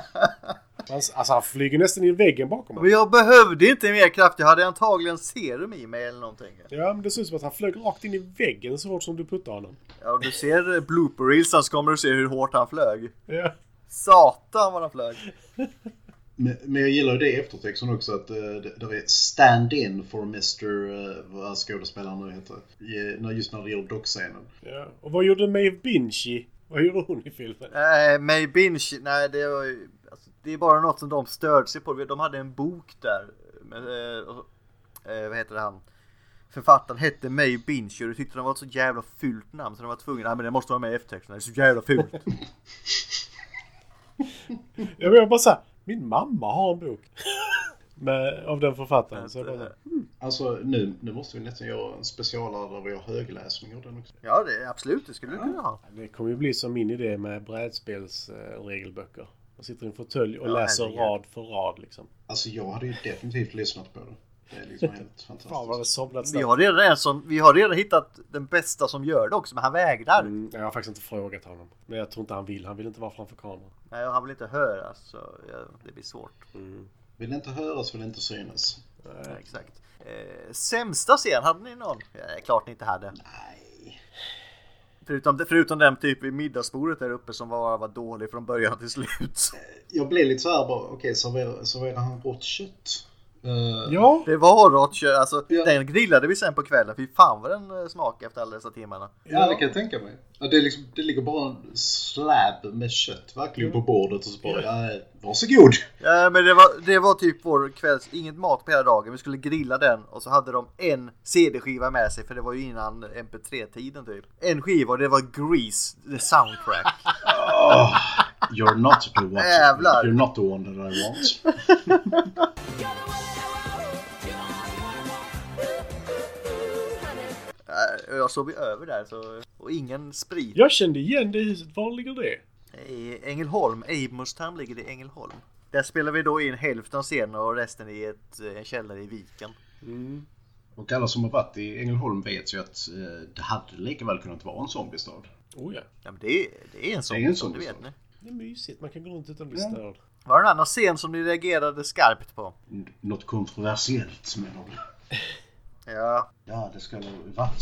Speaker 3: Alltså han flyger nästan in i väggen bakom honom.
Speaker 2: Men jag behövde inte mer kraft, jag hade antagligen serum i mig eller någonting.
Speaker 3: Ja, men det ser ut som att han flög rakt in i väggen så hårt som du puttade honom.
Speaker 2: Ja, om du ser eh, blooper reelsen så kommer du se hur hårt han flög.
Speaker 3: Ja.
Speaker 2: Satan vad han flög.
Speaker 1: Men, men jag gillar ju det i eftertexten också att eh, det, det är stand-in for Mr. eh, vad skådespelaren nu heter. I, när- just när det gäller dockscenen.
Speaker 3: ja. Och vad gjorde Maeve Binchy? Vad gjorde hon i filmen?
Speaker 2: Nej, May Binch, nej det var ju... Alltså, det är bara något som de störde sig på. De hade en bok där. Med, eh, eh, vad heter det han? Författaren hette May Binch och de tyckte den var ett så jävla fult namn så de var tvungna, nej men det måste vara med i eftertexten, det är så jävla fult.
Speaker 3: Jag var bara såhär, min mamma har en bok. Med, av den författaren. Så jag bara, så här,
Speaker 1: Alltså nu, nu måste vi nästan göra en specialare där vi har högläsning av den också.
Speaker 2: Ja, det, absolut, det skulle du kunna ha.
Speaker 3: det kommer ju bli som min idé med brädspelsregelböcker. Man sitter i en fåtölj och
Speaker 2: Ja,
Speaker 3: läser
Speaker 2: herregud.
Speaker 3: rad för rad liksom.
Speaker 1: Alltså jag hade ju definitivt lyssnat på det. Det är liksom helt
Speaker 3: Fan vad det
Speaker 1: fantastiskt.
Speaker 3: somnat
Speaker 2: Vi
Speaker 3: snabbt.
Speaker 2: har, redan en som, vi har redan hittat den bästa som gör det också, men han vägrar.
Speaker 3: Mm, jag har faktiskt inte frågat honom. Men jag tror inte han vill. Han vill inte vara framför kameran.
Speaker 2: Nej, och han vill inte höra så ja, det blir svårt.
Speaker 1: Vill inte höras, vill inte synas.
Speaker 2: Ja, exakt. Eh, sämsta scen, hade ni någon? Eh, klart ni inte hade.
Speaker 1: Nej.
Speaker 2: Förutom, förutom den typ i middagsbordet där uppe som var, var dålig från början till slut.
Speaker 1: Jag blev lite så här bara, okej serverar, serverar han rått kött? Eh,
Speaker 3: Ja!
Speaker 2: Det var rått kö- alltså
Speaker 1: Ja.
Speaker 2: den grillade vi sen på kvällen. Fy fan vad den eh, smakade efter alla dessa timmarna.
Speaker 1: ja, det kan jag tänka mig. Ja, Det, är liksom, det ligger bara en slab med kött verkligen på bordet och så bara, ja. varsågod!
Speaker 2: Ja, men det var, det var typ vår kvälls, inget mat på hela dagen. Vi skulle grilla den och så hade de en CD-skiva med sig för det var ju innan MP3-tiden typ. En skiva och det var Grease, the soundtrack.
Speaker 1: You're not the one.
Speaker 2: Jävlar.
Speaker 1: You're not the one that I want.
Speaker 2: Ja, Eh, Jag sov ju över där så, och ingen sprit.
Speaker 3: Jag kände igen det huset. Var ligger det?
Speaker 2: I Ängelholm, Amerstown ligger det i Ängelholm. Där spelar vi då in hälften av scenen och resten i ett, eh, en källare i viken.
Speaker 1: Och alla som har varit i Ängelholm vet ju att eh, det hade lika väl kunnat vara en zombiestad.
Speaker 3: Oh ja.
Speaker 2: Ja, men det, är- det är en sån,
Speaker 1: Det är en
Speaker 2: som
Speaker 1: sån
Speaker 2: du vet
Speaker 1: sån.
Speaker 2: ni.
Speaker 3: Det är mysigt. Man kan gå runt utan att bli störd.
Speaker 2: Var det en annan scen som ni reagerade skarpt på?
Speaker 1: N- Något kontroversiellt menar du?
Speaker 2: Ja,
Speaker 1: Ja, det skulle ha varit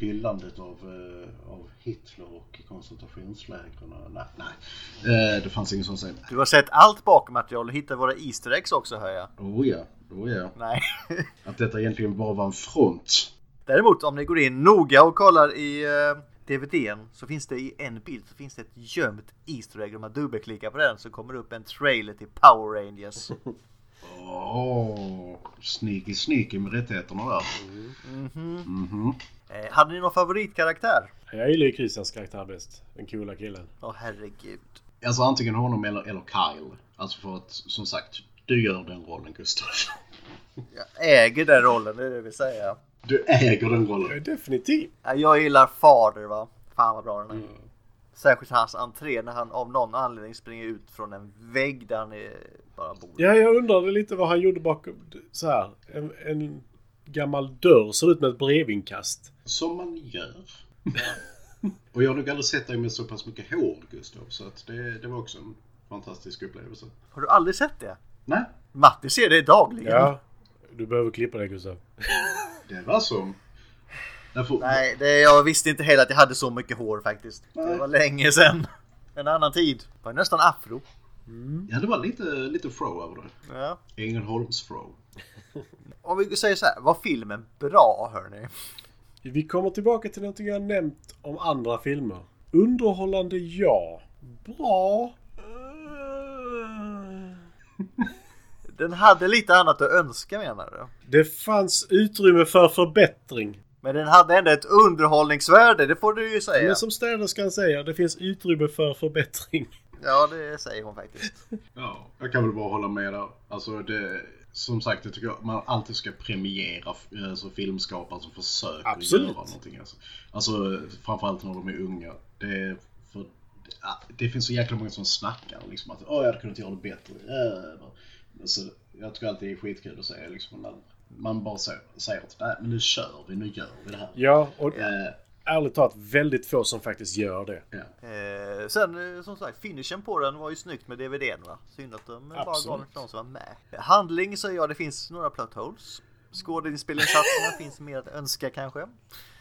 Speaker 1: hyllandet av, eh, av Hitler och koncentrationslägren. och- Nej, nej. Eh, det fanns ingen sån scen.
Speaker 2: du har sett allt bakmaterial och hittat våra Easter eggs också hör jag.
Speaker 1: Oh ja, oh ja.
Speaker 2: Nej.
Speaker 1: Att detta egentligen bara var en front.
Speaker 2: Däremot om ni går in noga och kollar i eh, DVDn så finns det i en bild så finns det ett gömt Easter egg. Om man dubbelklickar på den så kommer det upp en trailer till Power Rangers.
Speaker 1: Åh, sneaky sneaky med rättigheterna där. Mhm.
Speaker 2: Eh, hade ni någon favoritkaraktär?
Speaker 3: Jag gillar ju Christians karaktär bäst. Den coola killen.
Speaker 2: Åh herregud.
Speaker 1: Alltså antingen honom eller, eller Kyle. Alltså för att, som sagt, du gör den rollen Gustav.
Speaker 2: äger den rollen, det är det jag vill säga.
Speaker 1: Du äger den rollen.
Speaker 3: Ja, Definitivt.
Speaker 2: Ja, Jag gillar Fader va. Fan vad bra den är. Särskilt hans entré när han av någon anledning springer ut från en vägg där han är, bara bor.
Speaker 3: Ja, jag undrade lite vad han gjorde bakom... Så här. En, en gammal dörr ser ut med ett brevinkast.
Speaker 1: Som man gör. Och jag har nog aldrig sett dig med så pass mycket hår, Gustav. Så att det, det var också en fantastisk upplevelse.
Speaker 2: Har du aldrig sett det?
Speaker 1: Nej,
Speaker 2: Matti ser det dagligen.
Speaker 3: Ja, du behöver klippa dig Gustav.
Speaker 1: det var som... Därför,
Speaker 2: Nej, det, jag visste inte heller att jag hade så mycket hår faktiskt. Det var länge sedan. En annan tid. Det var nästan afro.
Speaker 1: Ja, det var lite, lite throw över det.
Speaker 2: Ja.
Speaker 1: Ängelholms-throw.
Speaker 2: Om vi säger så här, var filmen bra hörni?
Speaker 3: Vi kommer tillbaka till någonting jag nämnt om andra filmer. Underhållande ja. Bra. Eh.
Speaker 2: Den hade lite annat att önska menar du?
Speaker 3: Det fanns utrymme för förbättring.
Speaker 2: Men den hade ändå ett underhållningsvärde, det får du ju säga.
Speaker 3: Men som städerskan säger, det finns utrymme för förbättring.
Speaker 2: Ja, det säger hon faktiskt.
Speaker 1: Ja, jag kan väl bara hålla med där. Alltså det, som sagt, jag tycker jag man alltid ska premiera alltså, filmskapare som försöker
Speaker 3: Absolut.
Speaker 1: göra någonting. Alltså. alltså framförallt när de är unga. Det, är för, ja, det finns så jäkla många som snackar liksom att Åh, jag hade kunnat göra det bättre. Äh, Så jag tycker alltid det är skitkul att säga liksom när man bara säger, säger att nej, men nu kör vi, nu gör vi det här.
Speaker 3: Ja, och
Speaker 1: Eh,
Speaker 3: ärligt talat väldigt få som faktiskt gör det.
Speaker 1: ja.
Speaker 2: Eh, sen eh, som sagt, finishen på den var ju snyggt med DVDn va? Synd att de eh, bara
Speaker 3: Absolut.
Speaker 2: gav den till de som var med. Handling säger jag, det finns några plot holes. Skådespelinsatserna finns mer att önska kanske.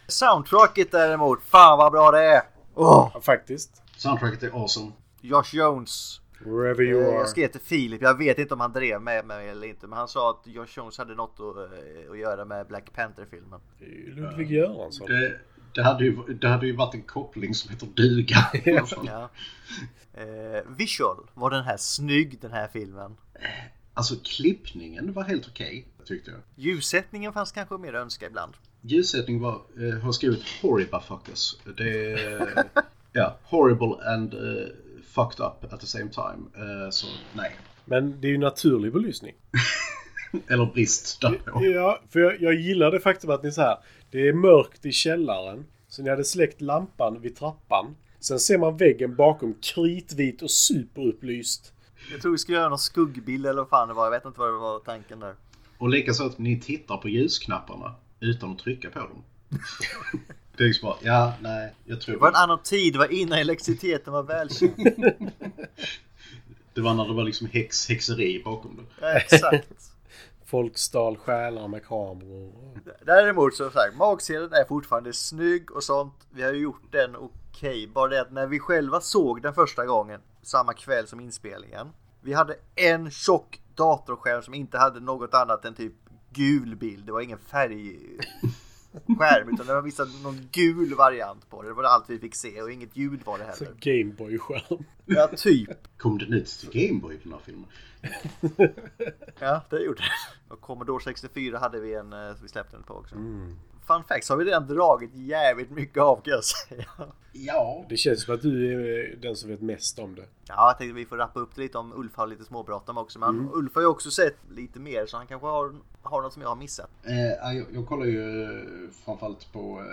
Speaker 2: Soundtracket däremot, fan vad bra det är! Åh!
Speaker 3: Ja, Faktiskt.
Speaker 1: Soundtracket är awesome.
Speaker 2: Josh Jones.
Speaker 3: Wherever
Speaker 2: Eh,
Speaker 3: you are.
Speaker 2: Jag skrev till Filip, jag vet inte om han drev med mig eller inte, men han sa att Josh Jones hade något att, eh, att göra med Black Panther-filmen.
Speaker 3: Det är ju Ludvig Göransson.
Speaker 2: Eh.
Speaker 1: Det, det, hade ju, det hade ju varit en koppling som heter duga.
Speaker 2: Ja. Eh, visual var den här snygg den här filmen.
Speaker 1: Alltså klippningen var helt okej, tyckte jag.
Speaker 2: Ljussättningen fanns kanske mer att önska ibland.
Speaker 1: Ljussättning var, eh, har skrivit horrible fuckers. Det är, ja, horrible and eh, fucked up at the same time. Eh, så nej.
Speaker 3: Men det är ju naturlig belysning.
Speaker 1: Eller brist därpå.
Speaker 3: Ja, för jag, jag gillar det faktum att ni så här. Det är mörkt i källaren. Så ni hade släckt lampan vid trappan. Sen ser man väggen bakom kritvit och superupplyst.
Speaker 2: Jag tror vi skulle göra någon skuggbild eller vad fan det var. Jag vet inte vad det var tanken där.
Speaker 1: Och likaså att ni tittar på ljusknapparna utan att trycka på dem. det är liksom bara, ja, nej, jag
Speaker 2: Det var
Speaker 1: tror
Speaker 2: en annan tid, det var innan elektriciteten var välkänd.
Speaker 1: det var när det var liksom häx, häxeri bakom det.
Speaker 2: Ja, Exakt.
Speaker 3: Folk stal själar med kameror.
Speaker 2: Däremot så sagt, magsedeln är fortfarande snygg och sånt. Vi har ju gjort den okej. Bara det att när vi själva såg den första gången, samma kväll som inspelningen. Vi hade en tjock datorskärm som inte hade något annat än typ gul bild. Det var ingen färgskärm utan det var vissa, någon gul variant på det. Det var allt vi fick se och inget ljud var det
Speaker 3: Så
Speaker 2: heller.
Speaker 3: Gameboy-skärm.
Speaker 2: Ja, typ.
Speaker 1: Kom den ut till Gameboy den här filmen?
Speaker 2: Ja, det gjorde det. Och Commodore 64 hade vi en, eh, vi släppte den på också. Fun facts har vi redan dragit jävligt mycket av kan jag säga.
Speaker 1: Ja,
Speaker 3: Det känns som att du är eh, den som vet mest om det.
Speaker 2: Ja, jag tänkte vi får rappa upp det lite om Ulf har lite småbråttom också. Men Ulf har ju också sett lite mer så han kanske har, har något som jag har missat.
Speaker 1: Eh, ja, jag, jag kollar ju eh, framförallt på eh,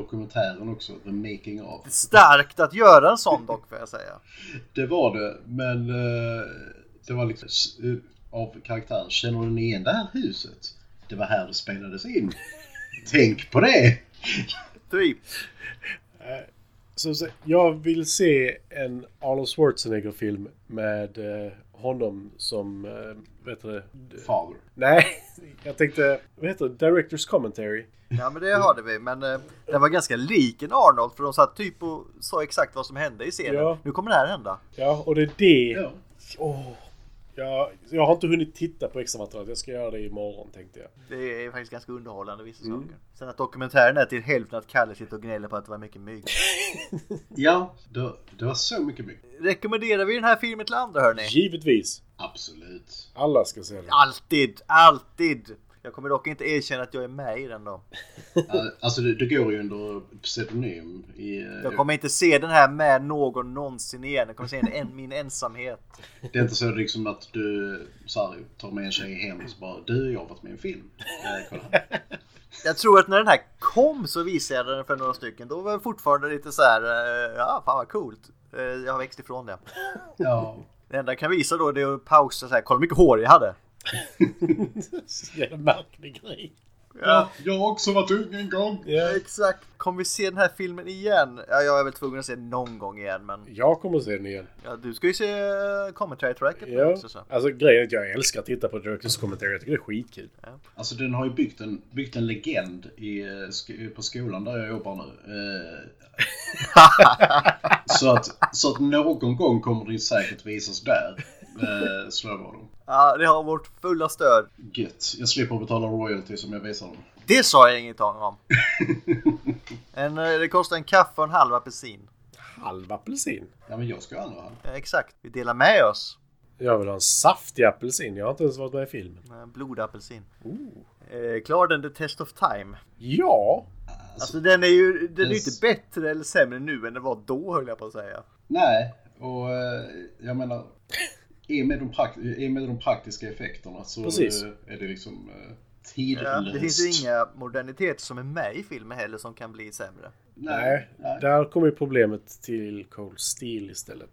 Speaker 1: dokumentären också, The Making of.
Speaker 2: Starkt att göra en sån dock får jag säga.
Speaker 1: Det var det, men eh, det var liksom s- eh, av karaktären. Känner ni igen det här huset? Det var här det spelades in. Tänk på det!
Speaker 2: Typ.
Speaker 3: Så, så, jag vill se en Arnold Schwarzenegger-film med eh, honom som... Eh, vet du det? D-
Speaker 1: Father.
Speaker 3: Nej, jag tänkte... Vad heter det? Directors commentary.
Speaker 2: Ja men det hörde vi. Men eh, den var ganska lik en Arnold för de satt typ och sa exakt vad som hände i scenen.
Speaker 3: Ja.
Speaker 2: Nu kommer det här hända.
Speaker 3: Ja, och det är det.
Speaker 1: Ja.
Speaker 3: Åh. jag, jag har inte hunnit titta på extra materialet. Jag ska göra det imorgon tänkte jag.
Speaker 2: Det är faktiskt ganska underhållande vissa saker. Sen att dokumentären är till hälften att Kalle sitter och gnäller på att det var mycket mygg.
Speaker 1: Ja, det, det var så mycket mycket.
Speaker 2: Rekommenderar vi den här filmen till andra hörni?
Speaker 3: Givetvis.
Speaker 1: Absolut.
Speaker 3: Alla ska se den.
Speaker 2: Alltid, alltid! Jag kommer dock inte erkänna att jag är med i den då.
Speaker 1: Eh, Alltså det, det går ju under pseudonym i eh,
Speaker 2: Jag kommer inte se den här med någon någonsin igen. Jag kommer se den en, min ensamhet.
Speaker 1: Det är inte så liksom att du så här, tar med en tjej hem och så bara du, jag har varit med i en film. Eh, kolla här.
Speaker 2: Jag tror att när den här kom så visade jag den för några stycken. Då var jag fortfarande lite så här, eh, ja fan vad coolt. Eh, Jag har växt ifrån det.
Speaker 1: Ja.
Speaker 2: Det enda jag kan visa då det är att pausa så här, kolla hur mycket hår jag hade.
Speaker 3: Så jävla märklig grej.
Speaker 2: Ja.
Speaker 1: Jag har också varit ung en gång.
Speaker 3: Ja.
Speaker 2: Exakt. Kommer vi se den här filmen igen? Ja, jag är väl tvungen att se den någon gång igen, men
Speaker 3: Jag kommer att se den igen.
Speaker 2: ja, du ska ju se eh, commentary tracket på den
Speaker 3: Ja.
Speaker 2: också. Så.
Speaker 3: Alltså grejen är att jag älskar att titta på Directors kommentarer. Jag tycker det är skitkul.
Speaker 1: Alltså den har ju byggt en, byggt en legend i, eh, sk- på skolan där jag jobbar nu. Eh, så, att, så att någon gång kommer den säkert visas där. Eh, slår jag vad om.
Speaker 2: Ja, det har vårt fulla stöd.
Speaker 1: Gött. Jag slipper betala royalty som jag visar dem.
Speaker 2: Det sa jag inget om. En, eh, det kostar en kaffe och en halv apelsin.
Speaker 3: Halv apelsin.
Speaker 1: Ja men jag ska ha en och en halv.
Speaker 2: Eh, Exakt. Vi delar med oss.
Speaker 3: Jag vill ha en saftig apelsin. Jag har inte ens varit med i filmen.
Speaker 2: Eh, Blodapelsin.
Speaker 3: Oh.
Speaker 2: Eh, Klarar den the test of time?
Speaker 3: Ja.
Speaker 2: Alltså den är ju den är ju
Speaker 1: Yes.
Speaker 2: inte bättre eller sämre nu än den var då höll jag på att säga.
Speaker 1: Nej, och eh, jag menar i och med de, prakt- i och med de praktiska effekterna så
Speaker 3: Precis.
Speaker 1: eh, är det liksom eh,
Speaker 2: Ja,
Speaker 1: tidlöst.
Speaker 2: det finns ju inga moderniteter som är med i filmen heller som kan bli sämre.
Speaker 1: Nej, nej.
Speaker 3: Där kommer ju problemet till Cold Steel istället.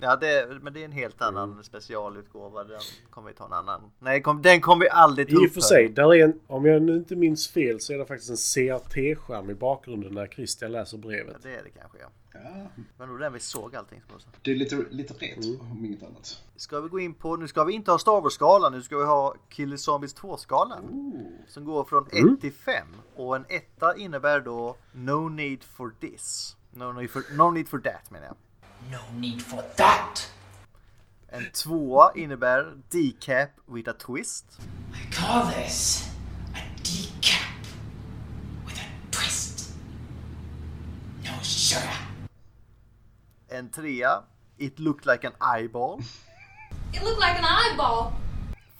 Speaker 2: Ja, det, men det är en helt annan
Speaker 3: Mm.
Speaker 2: specialutgåva. Den kommer vi ta en annan. Nej, kom, den kommer vi aldrig ta
Speaker 3: I
Speaker 2: upp.
Speaker 3: och för
Speaker 2: här.
Speaker 3: sig, där är en, om jag nu inte minns fel så är det faktiskt en CRT-skärm i bakgrunden när Christian läser
Speaker 2: Ja,
Speaker 3: brevet.
Speaker 2: det är det kanske, ja.
Speaker 1: Ja,
Speaker 2: Men då den vi såg allting. som jag sa.
Speaker 1: det är lite, lite rätt om inget annat.
Speaker 2: Ska vi gå in på, nu ska vi inte ha Star Wars-skalan, nu ska vi ha Killer Zombies 2-skalan. Som går från 1 till 5. Och en etta innebär då No need for this. No need for, no need for that menar jag.
Speaker 5: No need for that!
Speaker 2: En tvåa innebär Decap with a twist.
Speaker 5: I call this a decap with a twist. No sugar.
Speaker 2: En trea, It looked like an eyeball.
Speaker 6: It looked like an eyeball.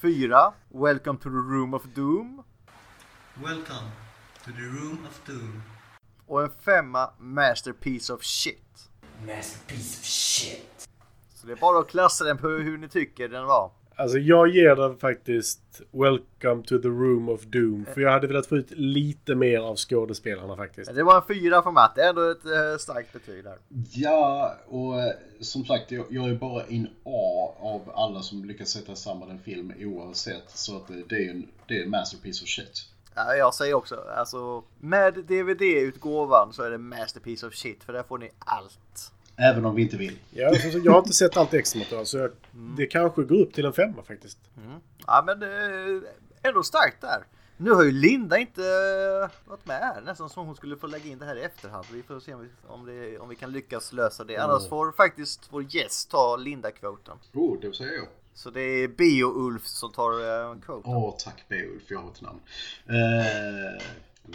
Speaker 2: Fyra, Welcome to the room of doom.
Speaker 5: Welcome to the Room of Doom.
Speaker 2: Och en femma, Masterpiece of shit.
Speaker 5: Masterpiece of shit.
Speaker 2: Så det är bara att klassa den på hur ni tycker den var.
Speaker 3: Alltså jag ger den faktiskt Welcome to the Room of Doom. För jag hade velat få ut lite mer av skådespelarna faktiskt.
Speaker 2: Men Det var en fyra från Matt, det är ändå ett eh, starkt betyg där.
Speaker 1: Ja, och eh, som sagt, jag, jag är bara in A av alla som lyckas sätta samman en film oavsett. Så att eh, det, det är ju en, det är en masterpiece of shit.
Speaker 2: Ja, jag säger också, alltså med DVD-utgåvan så är det Masterpiece of shit för där får ni allt.
Speaker 1: Även om vi inte vill.
Speaker 3: Ja, alltså, så jag har inte sett allt extra material så jag, det kanske går upp till en femma faktiskt.
Speaker 2: Ja men eh, ändå starkt där. Nu har ju Linda inte eh, varit med här, nästan som hon skulle få lägga in det här i efterhand. Vi får se om vi, om det, om vi kan lyckas lösa det. Annars får faktiskt vår gäst ta Linda-kvoten.
Speaker 1: Oh, det säger jag.
Speaker 2: Så det är Bio-Ulf som tar eh, kvoten.
Speaker 1: Åh, tack Beowulf, jag har ett namn. Eh,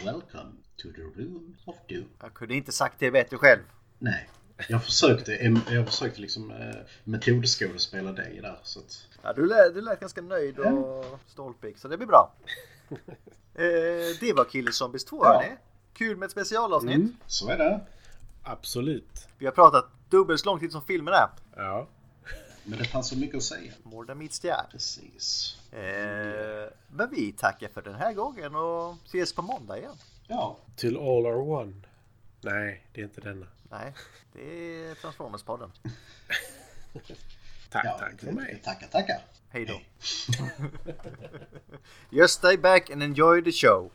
Speaker 1: welcome to the room of doom.
Speaker 2: Jag kunde inte sagt det bättre själv.
Speaker 1: Nej, jag försökte, em- jag försökte liksom eh, metodskådespela dig där. Så att,
Speaker 2: Ja, du, lät, du lät ganska nöjd och stolpig, så det blir bra. eh, det var Killer Zombies 2,
Speaker 1: Ja. Mm.
Speaker 2: hörni. Kul med ett specialavsnitt.
Speaker 1: så är det.
Speaker 3: Absolut.
Speaker 2: Vi har pratat dubbelt så lång tid som filmen är.
Speaker 3: Ja.
Speaker 1: Men det fanns så mycket att säga.
Speaker 2: Morden Midstjärn.
Speaker 1: Precis.
Speaker 2: Eh, men vi tackar för den här gången och ses på måndag igen.
Speaker 1: Ja,
Speaker 3: Till All Are One. Nej, det är inte denna.
Speaker 2: Nej, det är Transformers-podden.
Speaker 3: Tack,
Speaker 1: ja
Speaker 3: tack för mig.
Speaker 1: tackar, tackar.
Speaker 2: Hej då. Just stay back and enjoy the show.